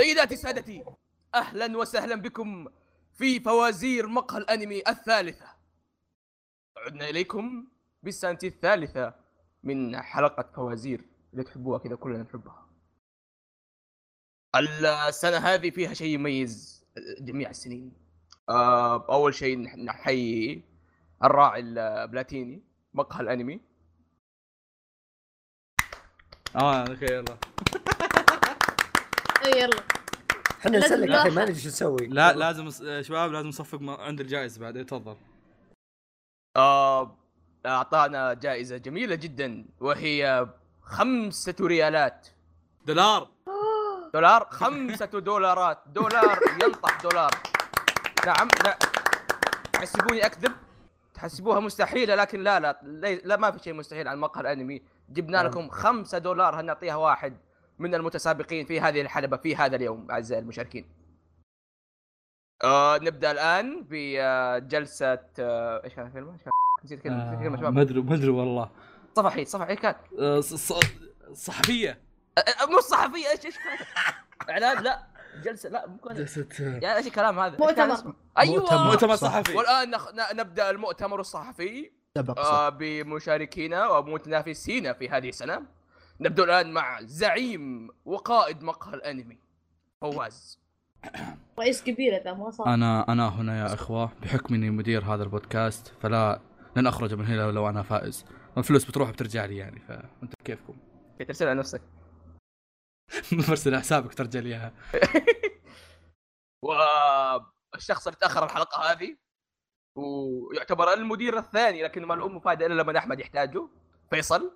سيداتي سادتي اهلا وسهلا بكم في فوازير مقهى الانمي الثالثه عدنا اليكم بالسنه الثالثه من حلقه فوازير اللي تحبوها كذا كلنا نحبها السنه هذه فيها شيء يميز جميع السنين آه، اول شيء نح- نحيي الراعي البلاتيني مقهى الانمي اه خير يلا اي إيه، يلا احنا لازم نسلك الحين ما نلاحظ. ندري شو نسوي لا لازم نص- آه، شباب لازم نصفق م- عند الجائزه بعد تفضل آه، اعطانا جائزه جميله جدا وهي خمسه ريالات دولار دولار خمسة دولارات دولار ينطح دولار نعم لا تحسبوني اكذب تحسبوها مستحيلة لكن لا لا لي- لا ما في شيء مستحيل عن مقهى الانمي جبنا نعم. لكم خمسة دولار هنعطيها واحد من المتسابقين في هذه الحلبة في هذا اليوم اعزائي المشاركين. آه نبدا الان بجلسة آه ايش كان الكلمة؟ إيش كان- نسيت كلمة نسيت كلمة آه، شباب ما ادري ما ادري والله صفحي صفحي إيش كان؟ آه، ص- ص- صحفيه آه، آه، مو صحفي ايش ايش كان؟ اعلان لا جلسة لا مو كان- جلسه يا ايش الكلام هذا؟ إيش مؤتمر. كان اسمه؟ ايوه مؤتمر صحفي والان نخ... ن- نبدا المؤتمر الصحفي سبق آه بمشاركينا ومتنافسينا في هذه السنه نبدا الان مع زعيم وقائد مقهى الانمي فواز رئيس كبير ذا ما صار انا انا هنا يا اخوه بحكم اني مدير هذا البودكاست فلا لن اخرج من هنا لو انا فائز الفلوس بتروح بترجع لي يعني فانت كيفكم ترسل على نفسك مرسل حسابك ترجع لي اياها والشخص اللي تاخر الحلقه هذه ويعتبر المدير الثاني لكن ما الام فايده الا لما احمد يحتاجه فيصل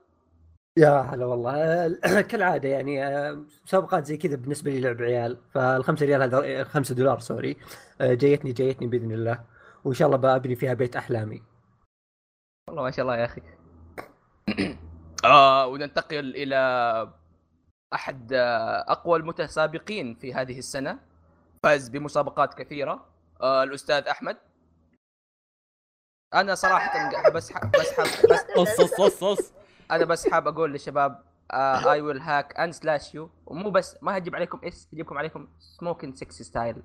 يا هلا والله آه، كالعاده يعني آه، مسابقات زي كذا بالنسبه لي لعب عيال فالخمسة ريال هذا خمسة دولار سوري آه، جايتني جايتني باذن الله وان شاء الله بابني فيها بيت احلامي والله ما شاء الله يا اخي آه وننتقل الى احد آه، اقوى المتسابقين في هذه السنه فاز بمسابقات كثيره آه الاستاذ احمد انا صراحه بسحب بسحب بس صص صص صص انا بسحب اقول للشباب آه، اي ويل هاك اند سلاش يو ومو بس ما هجيب عليكم اس هجيبكم عليكم سموكن سكسي ستايل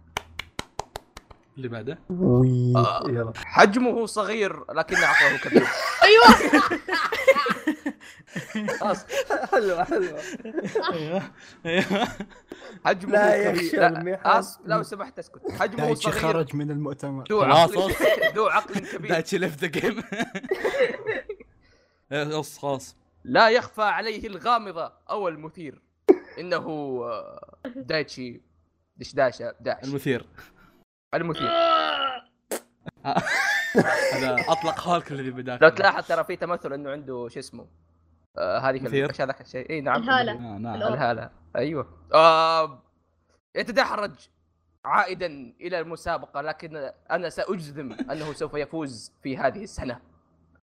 اللي بعده وي آه. يلا حجمه صغير لكن عقله كبير ايوه خلاص حلوه حلوه ايوه ايوه حجمه لا كبير يخشى لا المحن. أص... لو سمحت اسكت حجمه دايتشي صغير خرج من المؤتمر ذو خلاص، عقل ذو عقل كبير دايتشي ليف ذا جيم خلاص خلاص لا يخفى عليه الغامضة أو المثير إنه آه، دايتشي دشداشة داعش المثير المثير هذا اطلق هالك الذي بداك لو تلاحظ ترى في تمثل إنه عنده شو اسمه آه هذيك مثير. ايش هذاك الشيء اي نعم الهالة. آه، نعم الأوضة. الهالة ايوه آه يتدحرج عائدا الى المسابقه لكن انا ساجزم انه سوف يفوز في هذه السنه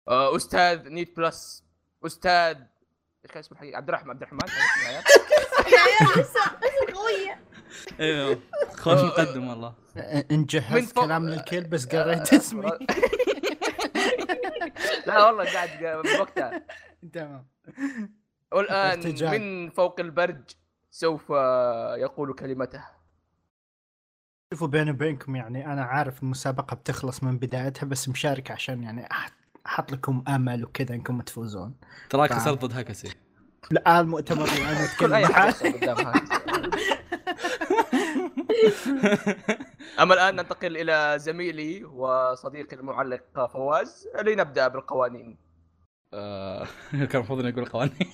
آه استاذ نيت بلس استاذ ايش كان اسمه الحقيقي عبد الرحمن عبد الرحمن يا عيال لسه لسه قويه ايوه خوش مقدم والله ان من جهزت فوق- آه، كلام للكل بس قريت اسمي لا والله قاعد بوقتها تمام والان ارتجال. من فوق البرج سوف يقول كلمته شوفوا بيني وبينكم يعني انا عارف المسابقه بتخلص من بدايتها بس مشارك عشان يعني أح- احط لكم امل وكذا انكم تفوزون تراك طبعاً. صرت ضد هكسي لا المؤتمر يعني اللي انا كل اتكلم اي عنه حاجه قدامها اما الان ننتقل الى زميلي وصديقي المعلق فواز لنبدا بالقوانين آه، كان المفروض اني اقول القوانين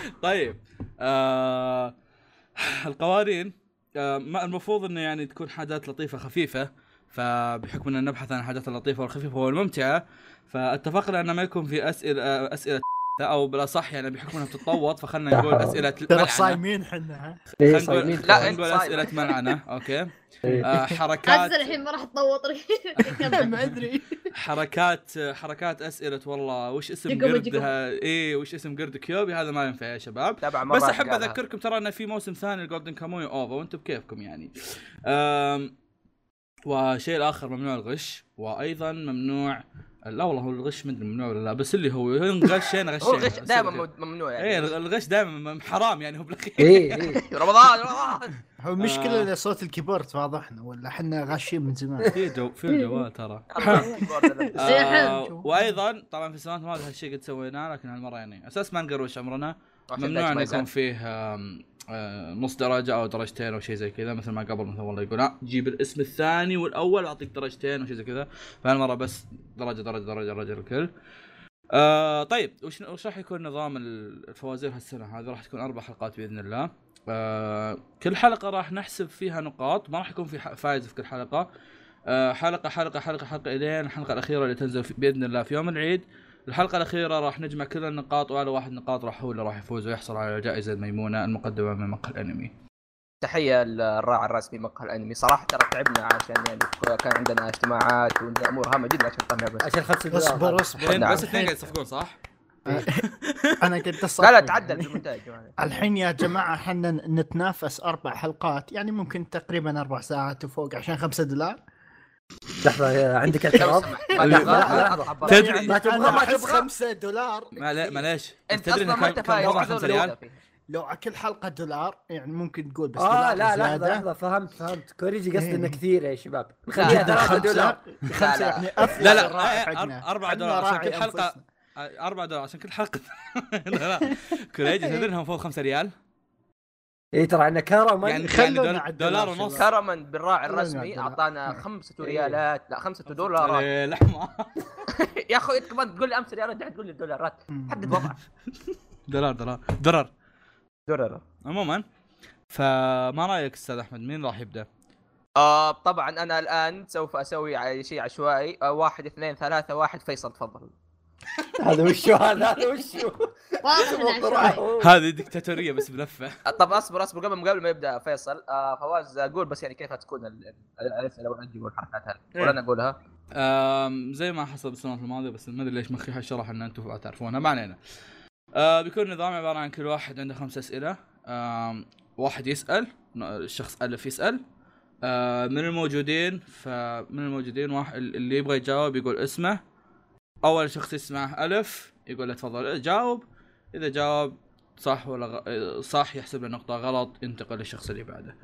طيب آه، القوانين آه، ما- المفروض انه يعني تكون حاجات لطيفه خفيفه فبحكم اننا نبحث عن الحاجات اللطيفه والخفيفه والممتعه فاتفقنا ان ما يكون في آه، اسئله اسئله او بالاصح يعني بحكم انها بتتطوط فخلنا نقول اسئله ترى ملعنه صايمين حنا ها إيه، خلنا صايمين نقول- لا، خلنا أنت نقول صايم. اسئله ملعنه اوكي إيه. آه، حركات عزة الحين ما راح تطوط ما ادري حركات حركات اسئله والله وش اسم جيجو ميجيجو. قردها اي وش اسم قرد كيوبي هذا ما ينفع يا شباب تابع مرة بس احب قالها. اذكركم ترى انه في موسم ثاني لجولدن كاموي اوفا وانتم بكيفكم يعني أم وشيء الاخر ممنوع الغش وايضا ممنوع لا والله هو الغش ما ادري ممنوع ولا لا بس اللي هو ينغش انا غشيت هو الغش دائما ممنوع ايه يعني الغش دائما حرام يعني هو بالاخير اي اي رمضان رمضان هو المشكله آه. اذا صوت الكيبورد واضحنا ولا احنا غاشين من زمان في جو في جوال ترى يلا. زي آه، حلم. وايضا طبعا في السنوات الماضيه هالشيء قد سويناه لكن هالمره يعني اساس ما نقروش عمرنا ممنوع ان يكون فيه آم، آه، نص درجه او درجتين او شيء زي كذا مثل ما قبل مثلا والله يقول لا جيب الاسم الثاني والاول اعطيك درجتين او شيء زي كذا فهالمره بس درجه درجه درجه درجه للكل. آه طيب وش وش راح يكون نظام ال- الفوازير هالسنه هذه راح تكون اربع حلقات باذن الله. آه كل حلقه راح نحسب فيها نقاط ما راح يكون في ح- فايز في كل حلقه. آه حلقه حلقه حلقه حلقه الين الحلقه الاخيره اللي تنزل في- باذن الله في يوم العيد. الحلقة الأخيرة راح نجمع كل النقاط وعلى واحد نقاط راح هو اللي راح يفوز ويحصل على جائزة ميمونة المقدمة من مقهى الأنمي. طيب، تحيه للراعي الرسمي مقهى الانمي صراحه ترى تعبنا عشان يعني كان عندنا اجتماعات وعندنا امور هامه جدا عشان نطلع بس عشان 5 دولار اصبر هذا. اصبر آه. الحين نعم. بس اثنين قاعد يصفقون صح؟ انا قد اصفر لا لا يعني. تعدل في المونتاج كمان. الحين يا جماعه احنا نتنافس اربع حلقات يعني ممكن تقريبا اربع ساعات وفوق عشان خمسة دولار لحظه يا، عندك لو اعتراض سمحت ما تبغى- ما تطلع برا. تدري- يعني ما أنا تبغى- ما أحس تبغى. خمسة دولار إيه، معلي- معليش انت اصلا ما انت فايز وضع ولا 5 ولا ريال؟ فيه. لو على كل حلقه دولار يعني ممكن تقول بس اه دولار لا لحظه زيادة. لحظه فهمت فهمت كوريجي قصد إيه. انه كثير يا شباب لا، خليها جداً. ثلاثة خمسة. خمسة لا دولار لا يعني أفلس لا، لا، الراعي آه، حقنا. آر- أربعة حنا دولار عشان راعي كل حلقة. أنفسنا. آه، 4 دولار عشان كل حلقة لا لا كوريجي إيه. تدري انهم فوق 5 ريال؟ اي إيه، ترى عندنا كرما يعني خلونا يعني دول- على الدولار دولار شباب. ونص كرما بالراعي والله الرسمي ما أدري. اعطانا خمسة ريالات لا إيه. خمسة دولارات إيه، لحمة يا اخوي انت كمان تقول لي امس ريالات دحين تقول لي دولارات حدد وضعك دولار دولار درر دولارات عموما فما رايك استاذ احمد مين راح يبدا؟ آه طبعا انا الان سوف اسوي ع- شيء عشوائي آه واحد اثنين ثلاثة واحد فيصل تفضل هذا وشو هذا هذا وشو واضح إنه عشوائي. هذه دكتاتورية بس بلفة آه، طب اصبر اصبر قبل قبل ما يبدا فيصل آه فواز آه، قول بس يعني كيف تكون ال- ال- الاسئله والاجوبه والحركات إيه. هذه ولا انا اقولها آم، زي ما حصل بالسنوات الماضيه بس ما ادري ليش مخي حشرح ان انتم تعرفونها ما علينا. آه، بيكون نظام عباره عن كل واحد عنده خمس اسئله آم، واحد يسال الشخص الف يسال آه، من الموجودين فمن الموجودين واحد اللي يبغى يجاوب يقول اسمه اول شخص يسمعه الف يقول له تفضل جاوب اذا جاوب صح ولا غ... صح يحسب له نقطه غلط ينتقل للشخص اللي بعده.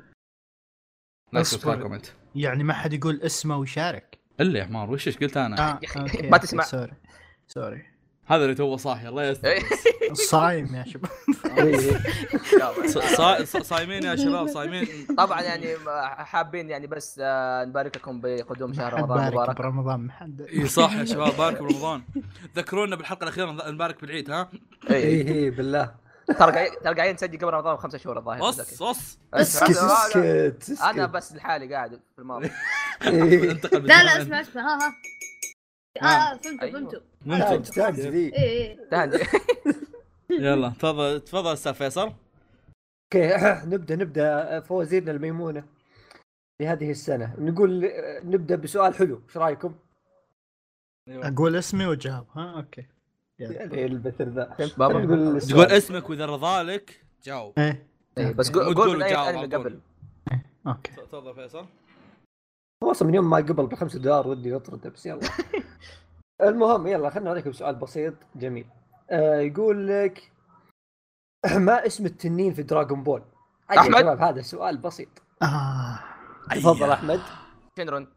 أصبر. لا كومنت يعني ما حد يقول اسمه ويشارك الا يا حمار وش ايش قلت انا؟ آه، أخي، أوكي، ما أوكي، تسمع. سوري سوري هذا اللي توه صاحي الله إيه. يستر صايم يا شباب إيه، يلا. ص- صا- صا- صايمين يا شباب صايمين طبعا يعني ما- حابين يعني بس آه نبارك لكم بقدوم شهر حد رمضان إيه، بارك المبارك برمضان ما حد اي صح يا شباب بارك برمضان ذكرونا بالحلقه الاخيره نض- نبارك بالعيد ها إيه. اي اي بالله ترى قاعد- ترى قاعدين نسجل قبل رمضان بخمسة شهور الظاهر اص اص بس اسكت، لا، لا، اسكت انا بس لحالي قاعد في الماضي إيه. انتقل لا لا بالزمن. اسمع اسمع ها ها اه نعم. آه، فهمتوا أيوة. فهمتوا تاج ممتاز تاج ذي ايه ايه تهنئ. يلا تفضل تفضل استاذ فيصل اوكي نبدا نبدا فوازيرنا الميمونه لهذه السنه نقول نبدا بسؤال حلو ايش رايكم؟ أيوه. اقول اسمي واجاوب ها اوكي يلا. يعني البتر ذا فهمت بابا نقول تقول السؤال. اسمك واذا رضى لك جاوب ايه إيه، بس مو قول تقول قول من وجاوب اي على انمي طول. قبل اوكي تفضل فيصل هو اصلا من يوم ما قبل بخمسة دولار ودي اطرده بس يلا المهم يلا خلينا نعطيكم سؤال بسيط جميل آه يقول لك ما اسم التنين في دراغون بول؟ عادي يا أحمد؟ شباب، هذا سؤال بسيط آه. تفضل احمد شنرون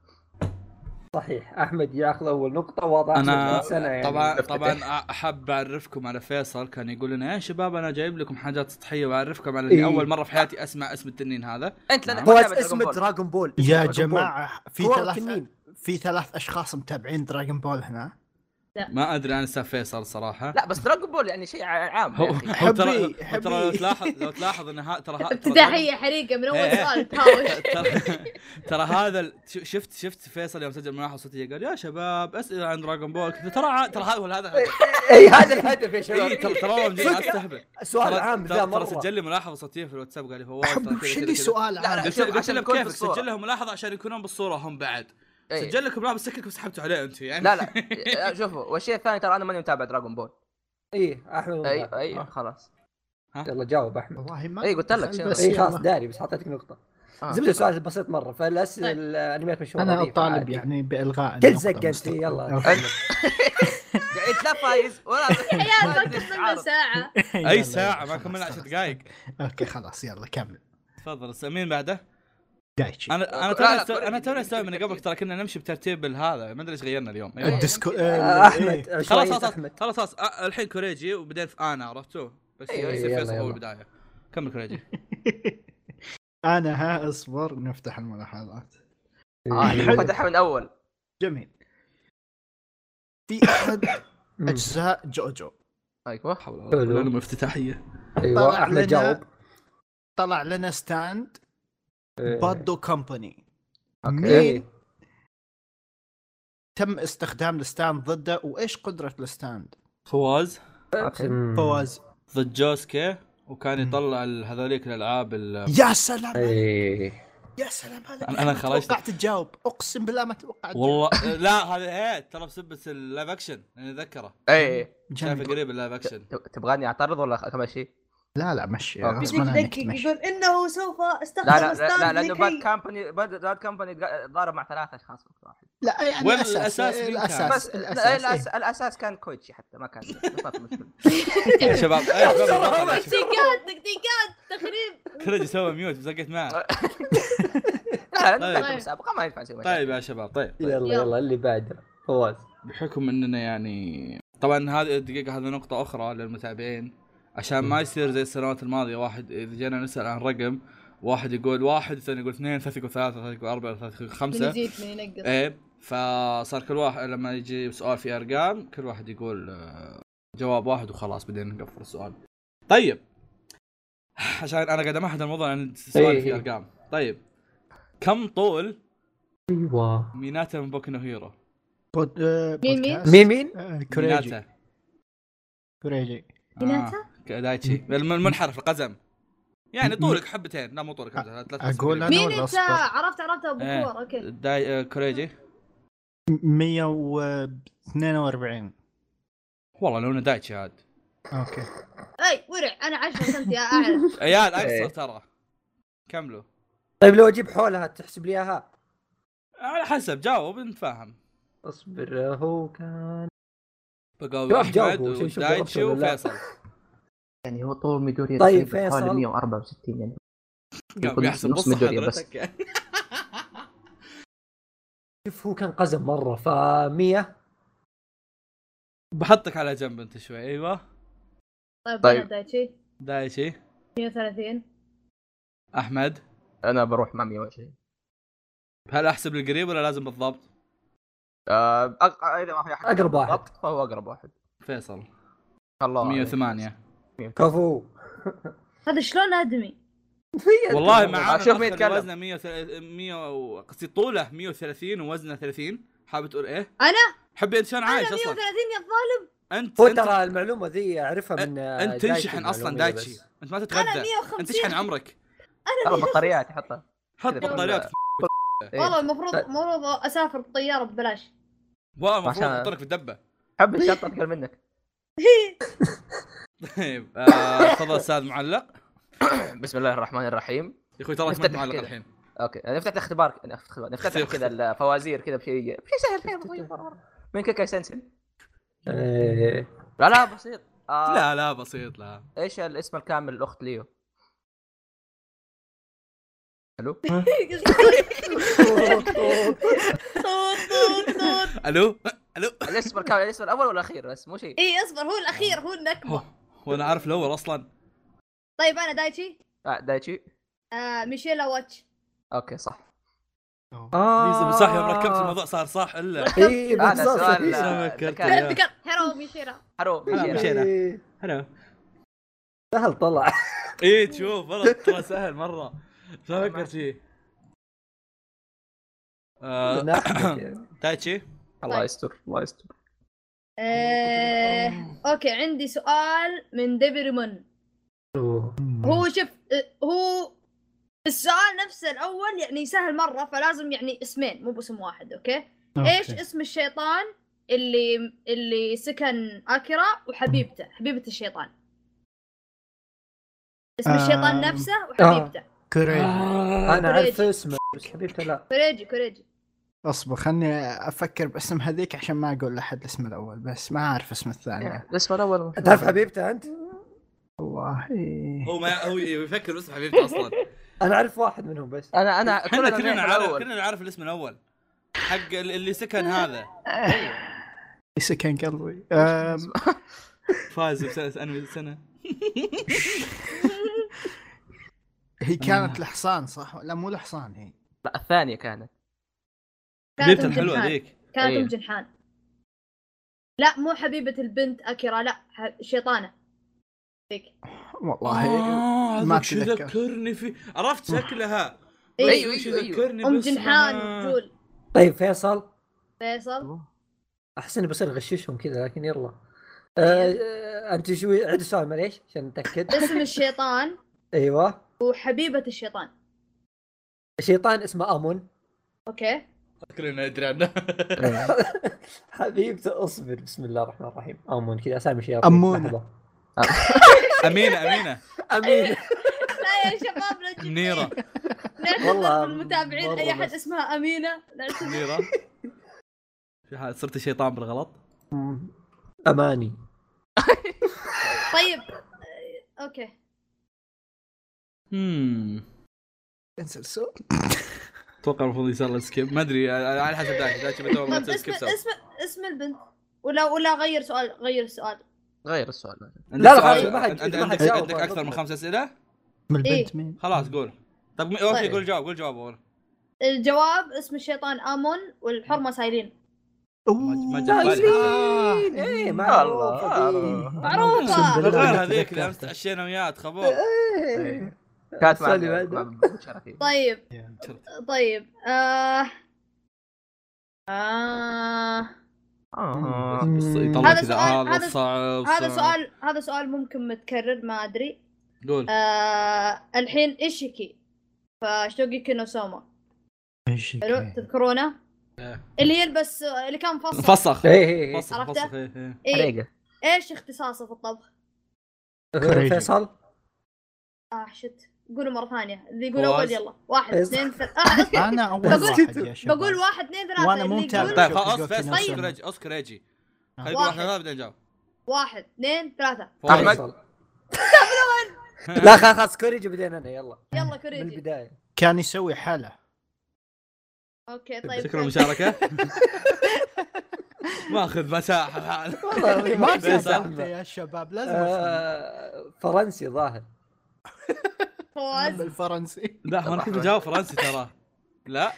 صحيح احمد ياخذ اول نقطه واضح انا أحمد سنه يعني طبعا طبعا احب اعرفكم على فيصل كان يقول لنا يا شباب انا جايب لكم حاجات سطحيه واعرفكم على اني إيه. اول مره في حياتي اسمع اسم التنين هذا انت لانك هو ما تابع دراغون اسم بول. دراغون بول يا دراغون جماعه في هو ثلاث التنين. في ثلاث اشخاص متابعين دراجون بول هنا ما ادري عن استاذ فيصل صراحه لا بس دراغون بول يعني شيء عام هو يا أخي. هو ترى حبي- هو ترى لو حبي. تلاحظ لو تلاحظ ان ها- ترى ها- ترى- ابتداحيه حريقه من طيب، إيه. اول سؤال تهاوش ترى- ترى هذا ال- شو- شفت شفت فيصل يوم سجل ملاحظه صوتيه قال يا شباب اسئله عن دراغون بول قلت له ترى ع- ترى هذا هو هذا إيه، الهدف. اي هذا الهدف يا شباب إيه، ترى ترى والله مجنون، لا تستهبل سؤال عام ترى- ذا ترى مره سجل لي ملاحظه صوتيه في الواتساب قال لي فواز ترى حبيب كذا شو كذا لي كذا. سؤال لا، لا، عام قلت له- قلت عشان لهم نكون في كيفك الصورة. سجل لهم ملاحظه عشان يكونون بالصوره هم بعد إيه. سجل لكم ملاحظه سكتكم سحبتوا عليه انتم يعني لا لا شوفوا والشيء الثاني ترى انا ماني متابع دراغون بول اي احمد اي آه. اي خلاص يلا جاوب احمد والله ما إي، إيه، قلت لك بس شنو. اي خلاص يلا. داري بس حطيتك نقطه آه. زبده السؤال بسيط مره فالأس... طيب. الانميات مشهوره انا ضعيفة اطالب عادي. يعني بالغاء النقطة تلزق انت مستقبلاً. يلا أوكي. قاعد يعني لا فايز ولا يا عيال طيب، فكر منه ساعة يلا، اي يلا، ساعه ما خلاص، كملنا خلاص. 10 دقائق اوكي خلاص يلا كمل تفضل أستاذ، مين بعده؟ دايتشي انا لا، انا توني لا، أستوعب- انا كوريجي، توني استوعب من كوريجي. قبلك ترى كنا نمشي بترتيب الهذا ما ادري ايش غيرنا اليوم إيه. أيوة. الديسكو إيه. آه، احمد احمد خلاص شوية خلاص احمد خلاص خلاص أ- الحين كوريجي وبعدين في انا عرفتوا بس أيوة، يصير يلا، فيصل هو يلا. البدايه كمل كوريجي انا ها اصبر نفتح الملاحظات آه، فتحها من اول جميل في احد مم. اجزاء جوجو ايوه حول حلو. ولا قوه افتتاحيه ايوه احمد لنا- جاوب طلع لنا ستاند إيه. بادو كومباني إيه. مين تم استخدام الستاند ضده وايش قدره الستاند؟ فواز أوكي. مم. فواز ضد جوسكي وكان مم. يطلع ال- هذوليك الالعاب ال- يا سلام ايه يا سلام هذا إيه. أنا- أنا خرجت. توقعت تجاوب اقسم بالله ما توقعت والله لا هذا ايه ترى بسبه اللايف اكشن انا اتذكره اي جميل. يعني شايفه قريب اللايف اكشن ت- تبغاني اعترض ولا اكمل شيء؟ لا لا مشي أوكي. يدق غصبا عنك يدقق مشي يقول انه سوف استخدم لا لا ستاند لا, لا لانه لكي باد كامباني باد باد كامباني ضارب مع ثلاثة اشخاص في وقت واحد لا يعني وين الأساس- الأساس مين كان؟ الاساس بس لا، الاساس إيه. الأس... الاساس كان كويتشي حتى ما كان فقط مشكلة. يا شباب يا شباب تكتيكات تكتيكات تخريب كوريجي سوى ميوت بزقت معه لا طيب. لا المسابقه ما ينفع نسوي طيب يا شباب طيب يلا يلا اللي بعده فواز بحكم اننا يعني طبعا هذه الدقيقه هذه نقطه اخرى للمتابعين عشان ما يصير زي السنوات الماضيه واحد اذا جينا نسال عن رقم واحد يقول واحد الثاني يقول اثنين ثلاثة يقول ثلاثة ثلاثة يقول أربعة ثلاثة يقول من خمسة يزيد من ينقص ايه فصار كل واحد لما يجي سؤال فيه ارقام كل واحد يقول آه، جواب واحد وخلاص بعدين نقفل السؤال طيب عشان انا قاعد امهد الموضوع عن السؤال إيه. فيه ارقام طيب كم طول أيوة. ايوه ميناتا من بوكو نو هيرو بود... آه، مين- بودكاست. مين مين؟ آه، كوريجي ميناتا كوريجي بناتا؟ آه. دايتشي الم- المنحرف القزم يعني طولك حبتين لا مو طولك حبتين ثلاث اقول انا مين ولا انت؟ اصبر؟ عرفت عرفت ابو إيه. كور اوكي داي آه، كوريجي 142 والله لو انه دايتشي عاد اوكي اي ورع انا 10 سنت يا اعلم عيال إيه. اقصر ترى كملوا طيب لو اجيب حولها تحسب لي اياها على حسب جاوب نتفاهم اصبر هو كان بقاوي شوف احمد جاوبوا، شوف- شوف ودايتشي جاوبتوا ولا لا. وفيصل يعني هو طول ميدوريا طيب، تقريباً حوالي فيصل. 164 يعني قام يحسب نص بص ميدوريا بس. حضرتك شوف هو كان قزم مره ف100 بحطك على جنب انت شوي ايوه طيب طيب. انا دايتشي دايتشي 130 احمد انا بروح مع 120 هل احسب القريب ولا لازم بالضبط؟ آه، أق- اذا ما في احد أقرب واحد. بالضبط، فهو اقرب واحد فيصل الله عليك. 108 كفو هذا شلون ادمي؟ ما والله مع شوف مين يتكلم. وزنه 100 100 و- قصدي طوله 130 ووزنه 30 حابب تقول ايه؟ أنا؟ حبي انت شلون انا عايش 130 اصلا؟ يا الظالم انت هو انت, ترى المعلومه ذي اعرفها من آه، انت دايتشي تنشحن اصلا المعلومة دايتشي بس. انت ما انا تتغذى انت 150 تشحن عمرك ترى بطاريات حطها حط كذا. بطاريات إيه. والله المفروض طيب. المفروض اسافر بالطياره ببلاش والله المفروض عشان- احطك في الدبه حب الشرطه اكثر منك طيب آه، تفضل استاذ معلق بسم الله الرحمن الرحيم يا اخوي تراك ما أنت افتتح معلق كذا. الحين اوكي نفتتح اختبار نفتتح اختبار. كذا الفوازير كذا بشيء بشيء سهل خير بسيط مرة- مرة. من كيكا سنسن إيه. لا لا بسيط آه، لا لا بسيط لا ايش الاسم الكامل لاخت ليو؟ الو؟ صوت صوت صوت الو الو الاسم الكامل الاسم الاول ولا الاخير بس مو شيء اي اصبر هو الاخير هو النكبه أوه، وانا عارف الاول اصلا طيب انا دايتشي آه، دايتشي آه ميشيلا واتش اوكي صح آه. ليزا صح يوم ركبت الموضوع صار صح الا ايه هذا بالضبط. سؤال إيه. آه، ذكرت. ذكاء. ذكر هيرو ميشيلا حرو لا، مشينا. مشينا. إيه. هلا سهل طلع ايه تشوف والله ترى سهل مره ما فكرت فيه آه، يعني. دايتشي الله يستر الله يستر آه اوكي عندي سؤال من ديبريمون أوه. هو شوف آه، هو السؤال نفسه الاول يعني سهل مره فلازم يعني اسمين مو باسم واحد اوكي ايش اسم الشيطان اللي اللي سكن اكيرا وحبيبته حبيبه الشيطان اسم الشيطان آم. نفسه وحبيبته كوريجي آه. انا اعرف اسمه بس حبيبته لا كوريجي كوريجي اصبر خلني افكر باسم هذيك عشان ما اقول لاحد الاسم الاول بس ما اعرف اسم الثانيه الاسم الاول تعرف حبيبته انت؟ والله هو ما هو يفكر باسم حبيبته اصلا انا اعرف واحد منهم بس آه. انا انا احنا كلنا نعرف عارف الأول. كلنا عارف الاسم الاول حق ال- اللي سكن هذا سكن قلبي أم، فاز بسنه انمي السنه هي آه. كانت الحصان صح لا مو الحصان هي لا الثانيه كانت كانت حبيبته ام الحلوه جنحان ذيك كانت إيه. ام جنحان لا مو حبيبة البنت اكيرا لا ح- شيطانة ذيك والله آه. ما هذاك شو أتذكر. ذكرني آه، في عرفت شكلها إيه. أيوة أيوة، شو أيوة، أيوة. ذكرني ام باسمها. جنحان آه، وجول طيب فيصل فيصل احس اني بصير اغششهم كذا لكن يلا آه، آه، انت شو عد السؤال معليش عشان نتاكد اسم الشيطان ايوه وحبيبة الشيطان شيطان اسمه امون اوكي كلنا ندري عنها حبيبته اصبر بسم الله الرحمن الرحيم امون كذا اسامي شياطين أمونة. لحظة. امينه امينه امين لا يا شباب لا تجيب منيره والله نعتذر بالمتابعين مرة اي احد بس. اسمها امينه نعتذر منيره في حال صرت شيطان بالغلط اماني طيب آه، اوكي امم انسى السؤال إيه. اتوقع المفروض يصير سكيب ما ادري على حسب داش داش بتوه ما طب تصير اسم سكيب سوا اسم اسم البنت ولا ولا غير سؤال غير السؤال غير السؤال عندك لا، لا، سؤال- خلاص، ما حد- عند- ما حد عندك جاوب. عندك اكثر من خمس اسئله اسم إيه. البنت مين؟ خلاص قول طب م- اوكي طيب. قول جواب قول جواب اول الجواب اسم الشيطان امون والحرمه سايلين ما جاء في بالي دايسين ايه معروفة دي. آه. معروفة. طيب. غير هذيك اللي امس تعشينا وياه تخبوه إيه. كانت مع سالي بعد. مع- مع شرفي. طيب يا. طيب آه... آه... آه. بس يطلع هذا كذا آه، سؤال- هذا هذا- صعب هذا صعب. سؤال هذا سؤال ممكن متكرر ما ادري قول آه... الحين ايشيكي فشوقي كينوسوما ايش هيك؟ حلو تذكرونه إيه. اللي يلبس اللي كان مفصل فسخ إيه، إيه، إيه. فسخ طيب، عرفته؟ فسخ إيه، إيه. إيه. حريقه ايش اختصاصه في الطبخ؟ كوريجي. فيصل اه شت قولوا مره ثانيه اللي يقول فواز. اول يلا واحد فيصل. اثنين ثلاثة آه اصبر انا اول بقول- واحد يا شباب بقول واحد اثنين ثلاثة وأنا مو اللي متابع. يقول طيب شوف خلاص الجوكي فيصل نفسه. اوسكر ايجي اوسكر ايجي خلينا نقول واحد. طيب. واحده بعدين نجاوب واحد اثنين ثلاثة فواز. أحمد. فيصل. لا خلاص خلاص كوريجي بعدين انا يلا يلا من كوريجي البدايه كان يسوي حالة اوكي طيب شكرا للمشاركه ماخذ مساحه الحال والله العظيم ما فيصل. جاوبت يا شباب لازم أفهم. آه، فرنسي ظاهر أما فواز الفرنسي لا ما انا كنت بجاوب فرنسي ترى لا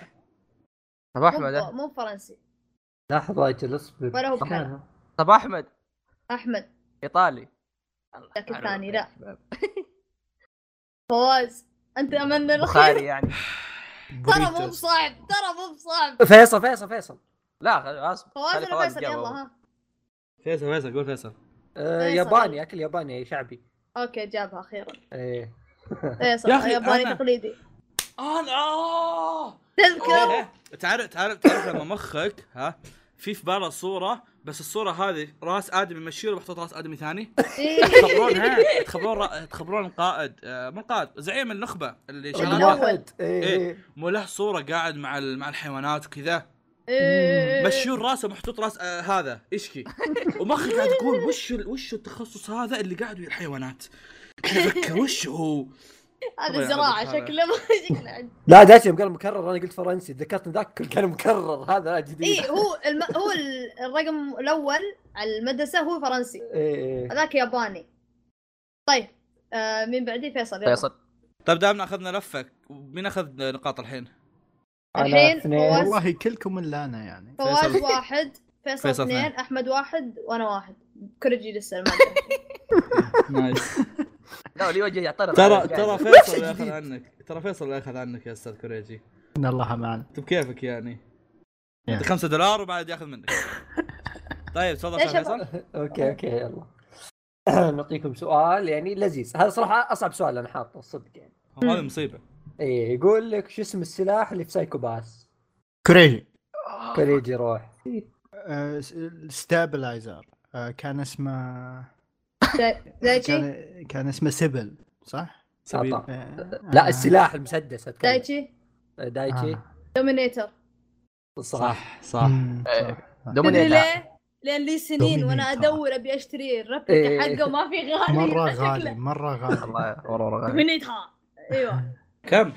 طب احمد مو- مو فرنسي لحظه اجل اصبر ولا هو كان- بحالة. طب احمد احمد ايطالي ذاك الثاني لا فواز انت املنا الخير بخاري يعني ترى مو بصعب ترى مو بصعب فيصل فيصل فيصل آه، لا خل- اصبر فواز خلي ولا فيصل يجاوب. يلا ها فيصل فيصل قول فيصل آه، فيصل. ياباني اكل ياباني إيه، شعبي اوكي جابها اخيرا ايه فيصل يا أخي، ياباني أنا- تقليدي انا اه تذكر تعرف تعرف تعرف لما مخك ها في في باله صوره بس الصوره هذه راس ادمي مشيله محطوط راس ادمي ثاني إيه. تخبرون ها تخبرون را- تخبرون القائد آه، مو القائد زعيم النخبه اللي شغال الأول. إيه، إيه. مو له صوره قاعد مع ال- مع الحيوانات وكذا إيه. مشيون راسه محطوط راس آه هذا اشكي ومخك قاعد يقول وش ال- وش التخصص هذا اللي قاعد ويا الحيوانات فكر وش هو هذا طبعاً زراعة هذا- شكله شكله عندي لا داش يوم قال مكرر انا قلت فرنسي تذكرت إن ذاك كان مكرر هذا لا جديد اي إيه، هو الم... هو ال- الرقم الاول على المدرسه هو فرنسي إيه، إيه. هذاك ياباني طيب آه مين بعدي فيصل يلا. فيصل طيب دامنا اخذنا لفك مين اخذ نقاط الحين؟ أنا الحين اثنين. فواز- والله كلكم الا انا يعني فواز فيصل. واحد فيصل, فيصل اثنين طيب. اثنين. احمد واحد وانا واحد كوريجي لسه ما أدري. نايس لا لي وجه يعترض ترى على ترى الجاي. فيصل اللي اخذ عنك ترى فيصل اللي اخذ عنك يا استاذ كوريجي ان الله معنا انت بكيفك يعني يا. انت 5 دولار وبعد ياخذ منك طيب تفضل يا استاذ فيصل اوكي اوكي يلا نعطيكم سؤال يعني لذيذ هذا صراحه اصعب سؤال انا حاطه الصدق يعني هذه مصيبه ايه يقول لك شو اسم السلاح اللي في سايكو باس كوريجي كوريجي روح آه، ستابلايزر آه، كان اسمه زي- زي شي كان كان اسمه سيبل صح؟ سبيل. ساطع. آه. لا السلاح المسدس أتكلم. دايتشي دايتشي آه. دومينيتر صح صح مم، إيه. صح. تدري دومينيتر ليه؟ لان لي سنين وانا Dominator. ادور ابي اشتري إيه. الربلكه حقه وما في غالي مره شكله. غالي مره غالي والله والله غالي. دومينيتر ايوه كم؟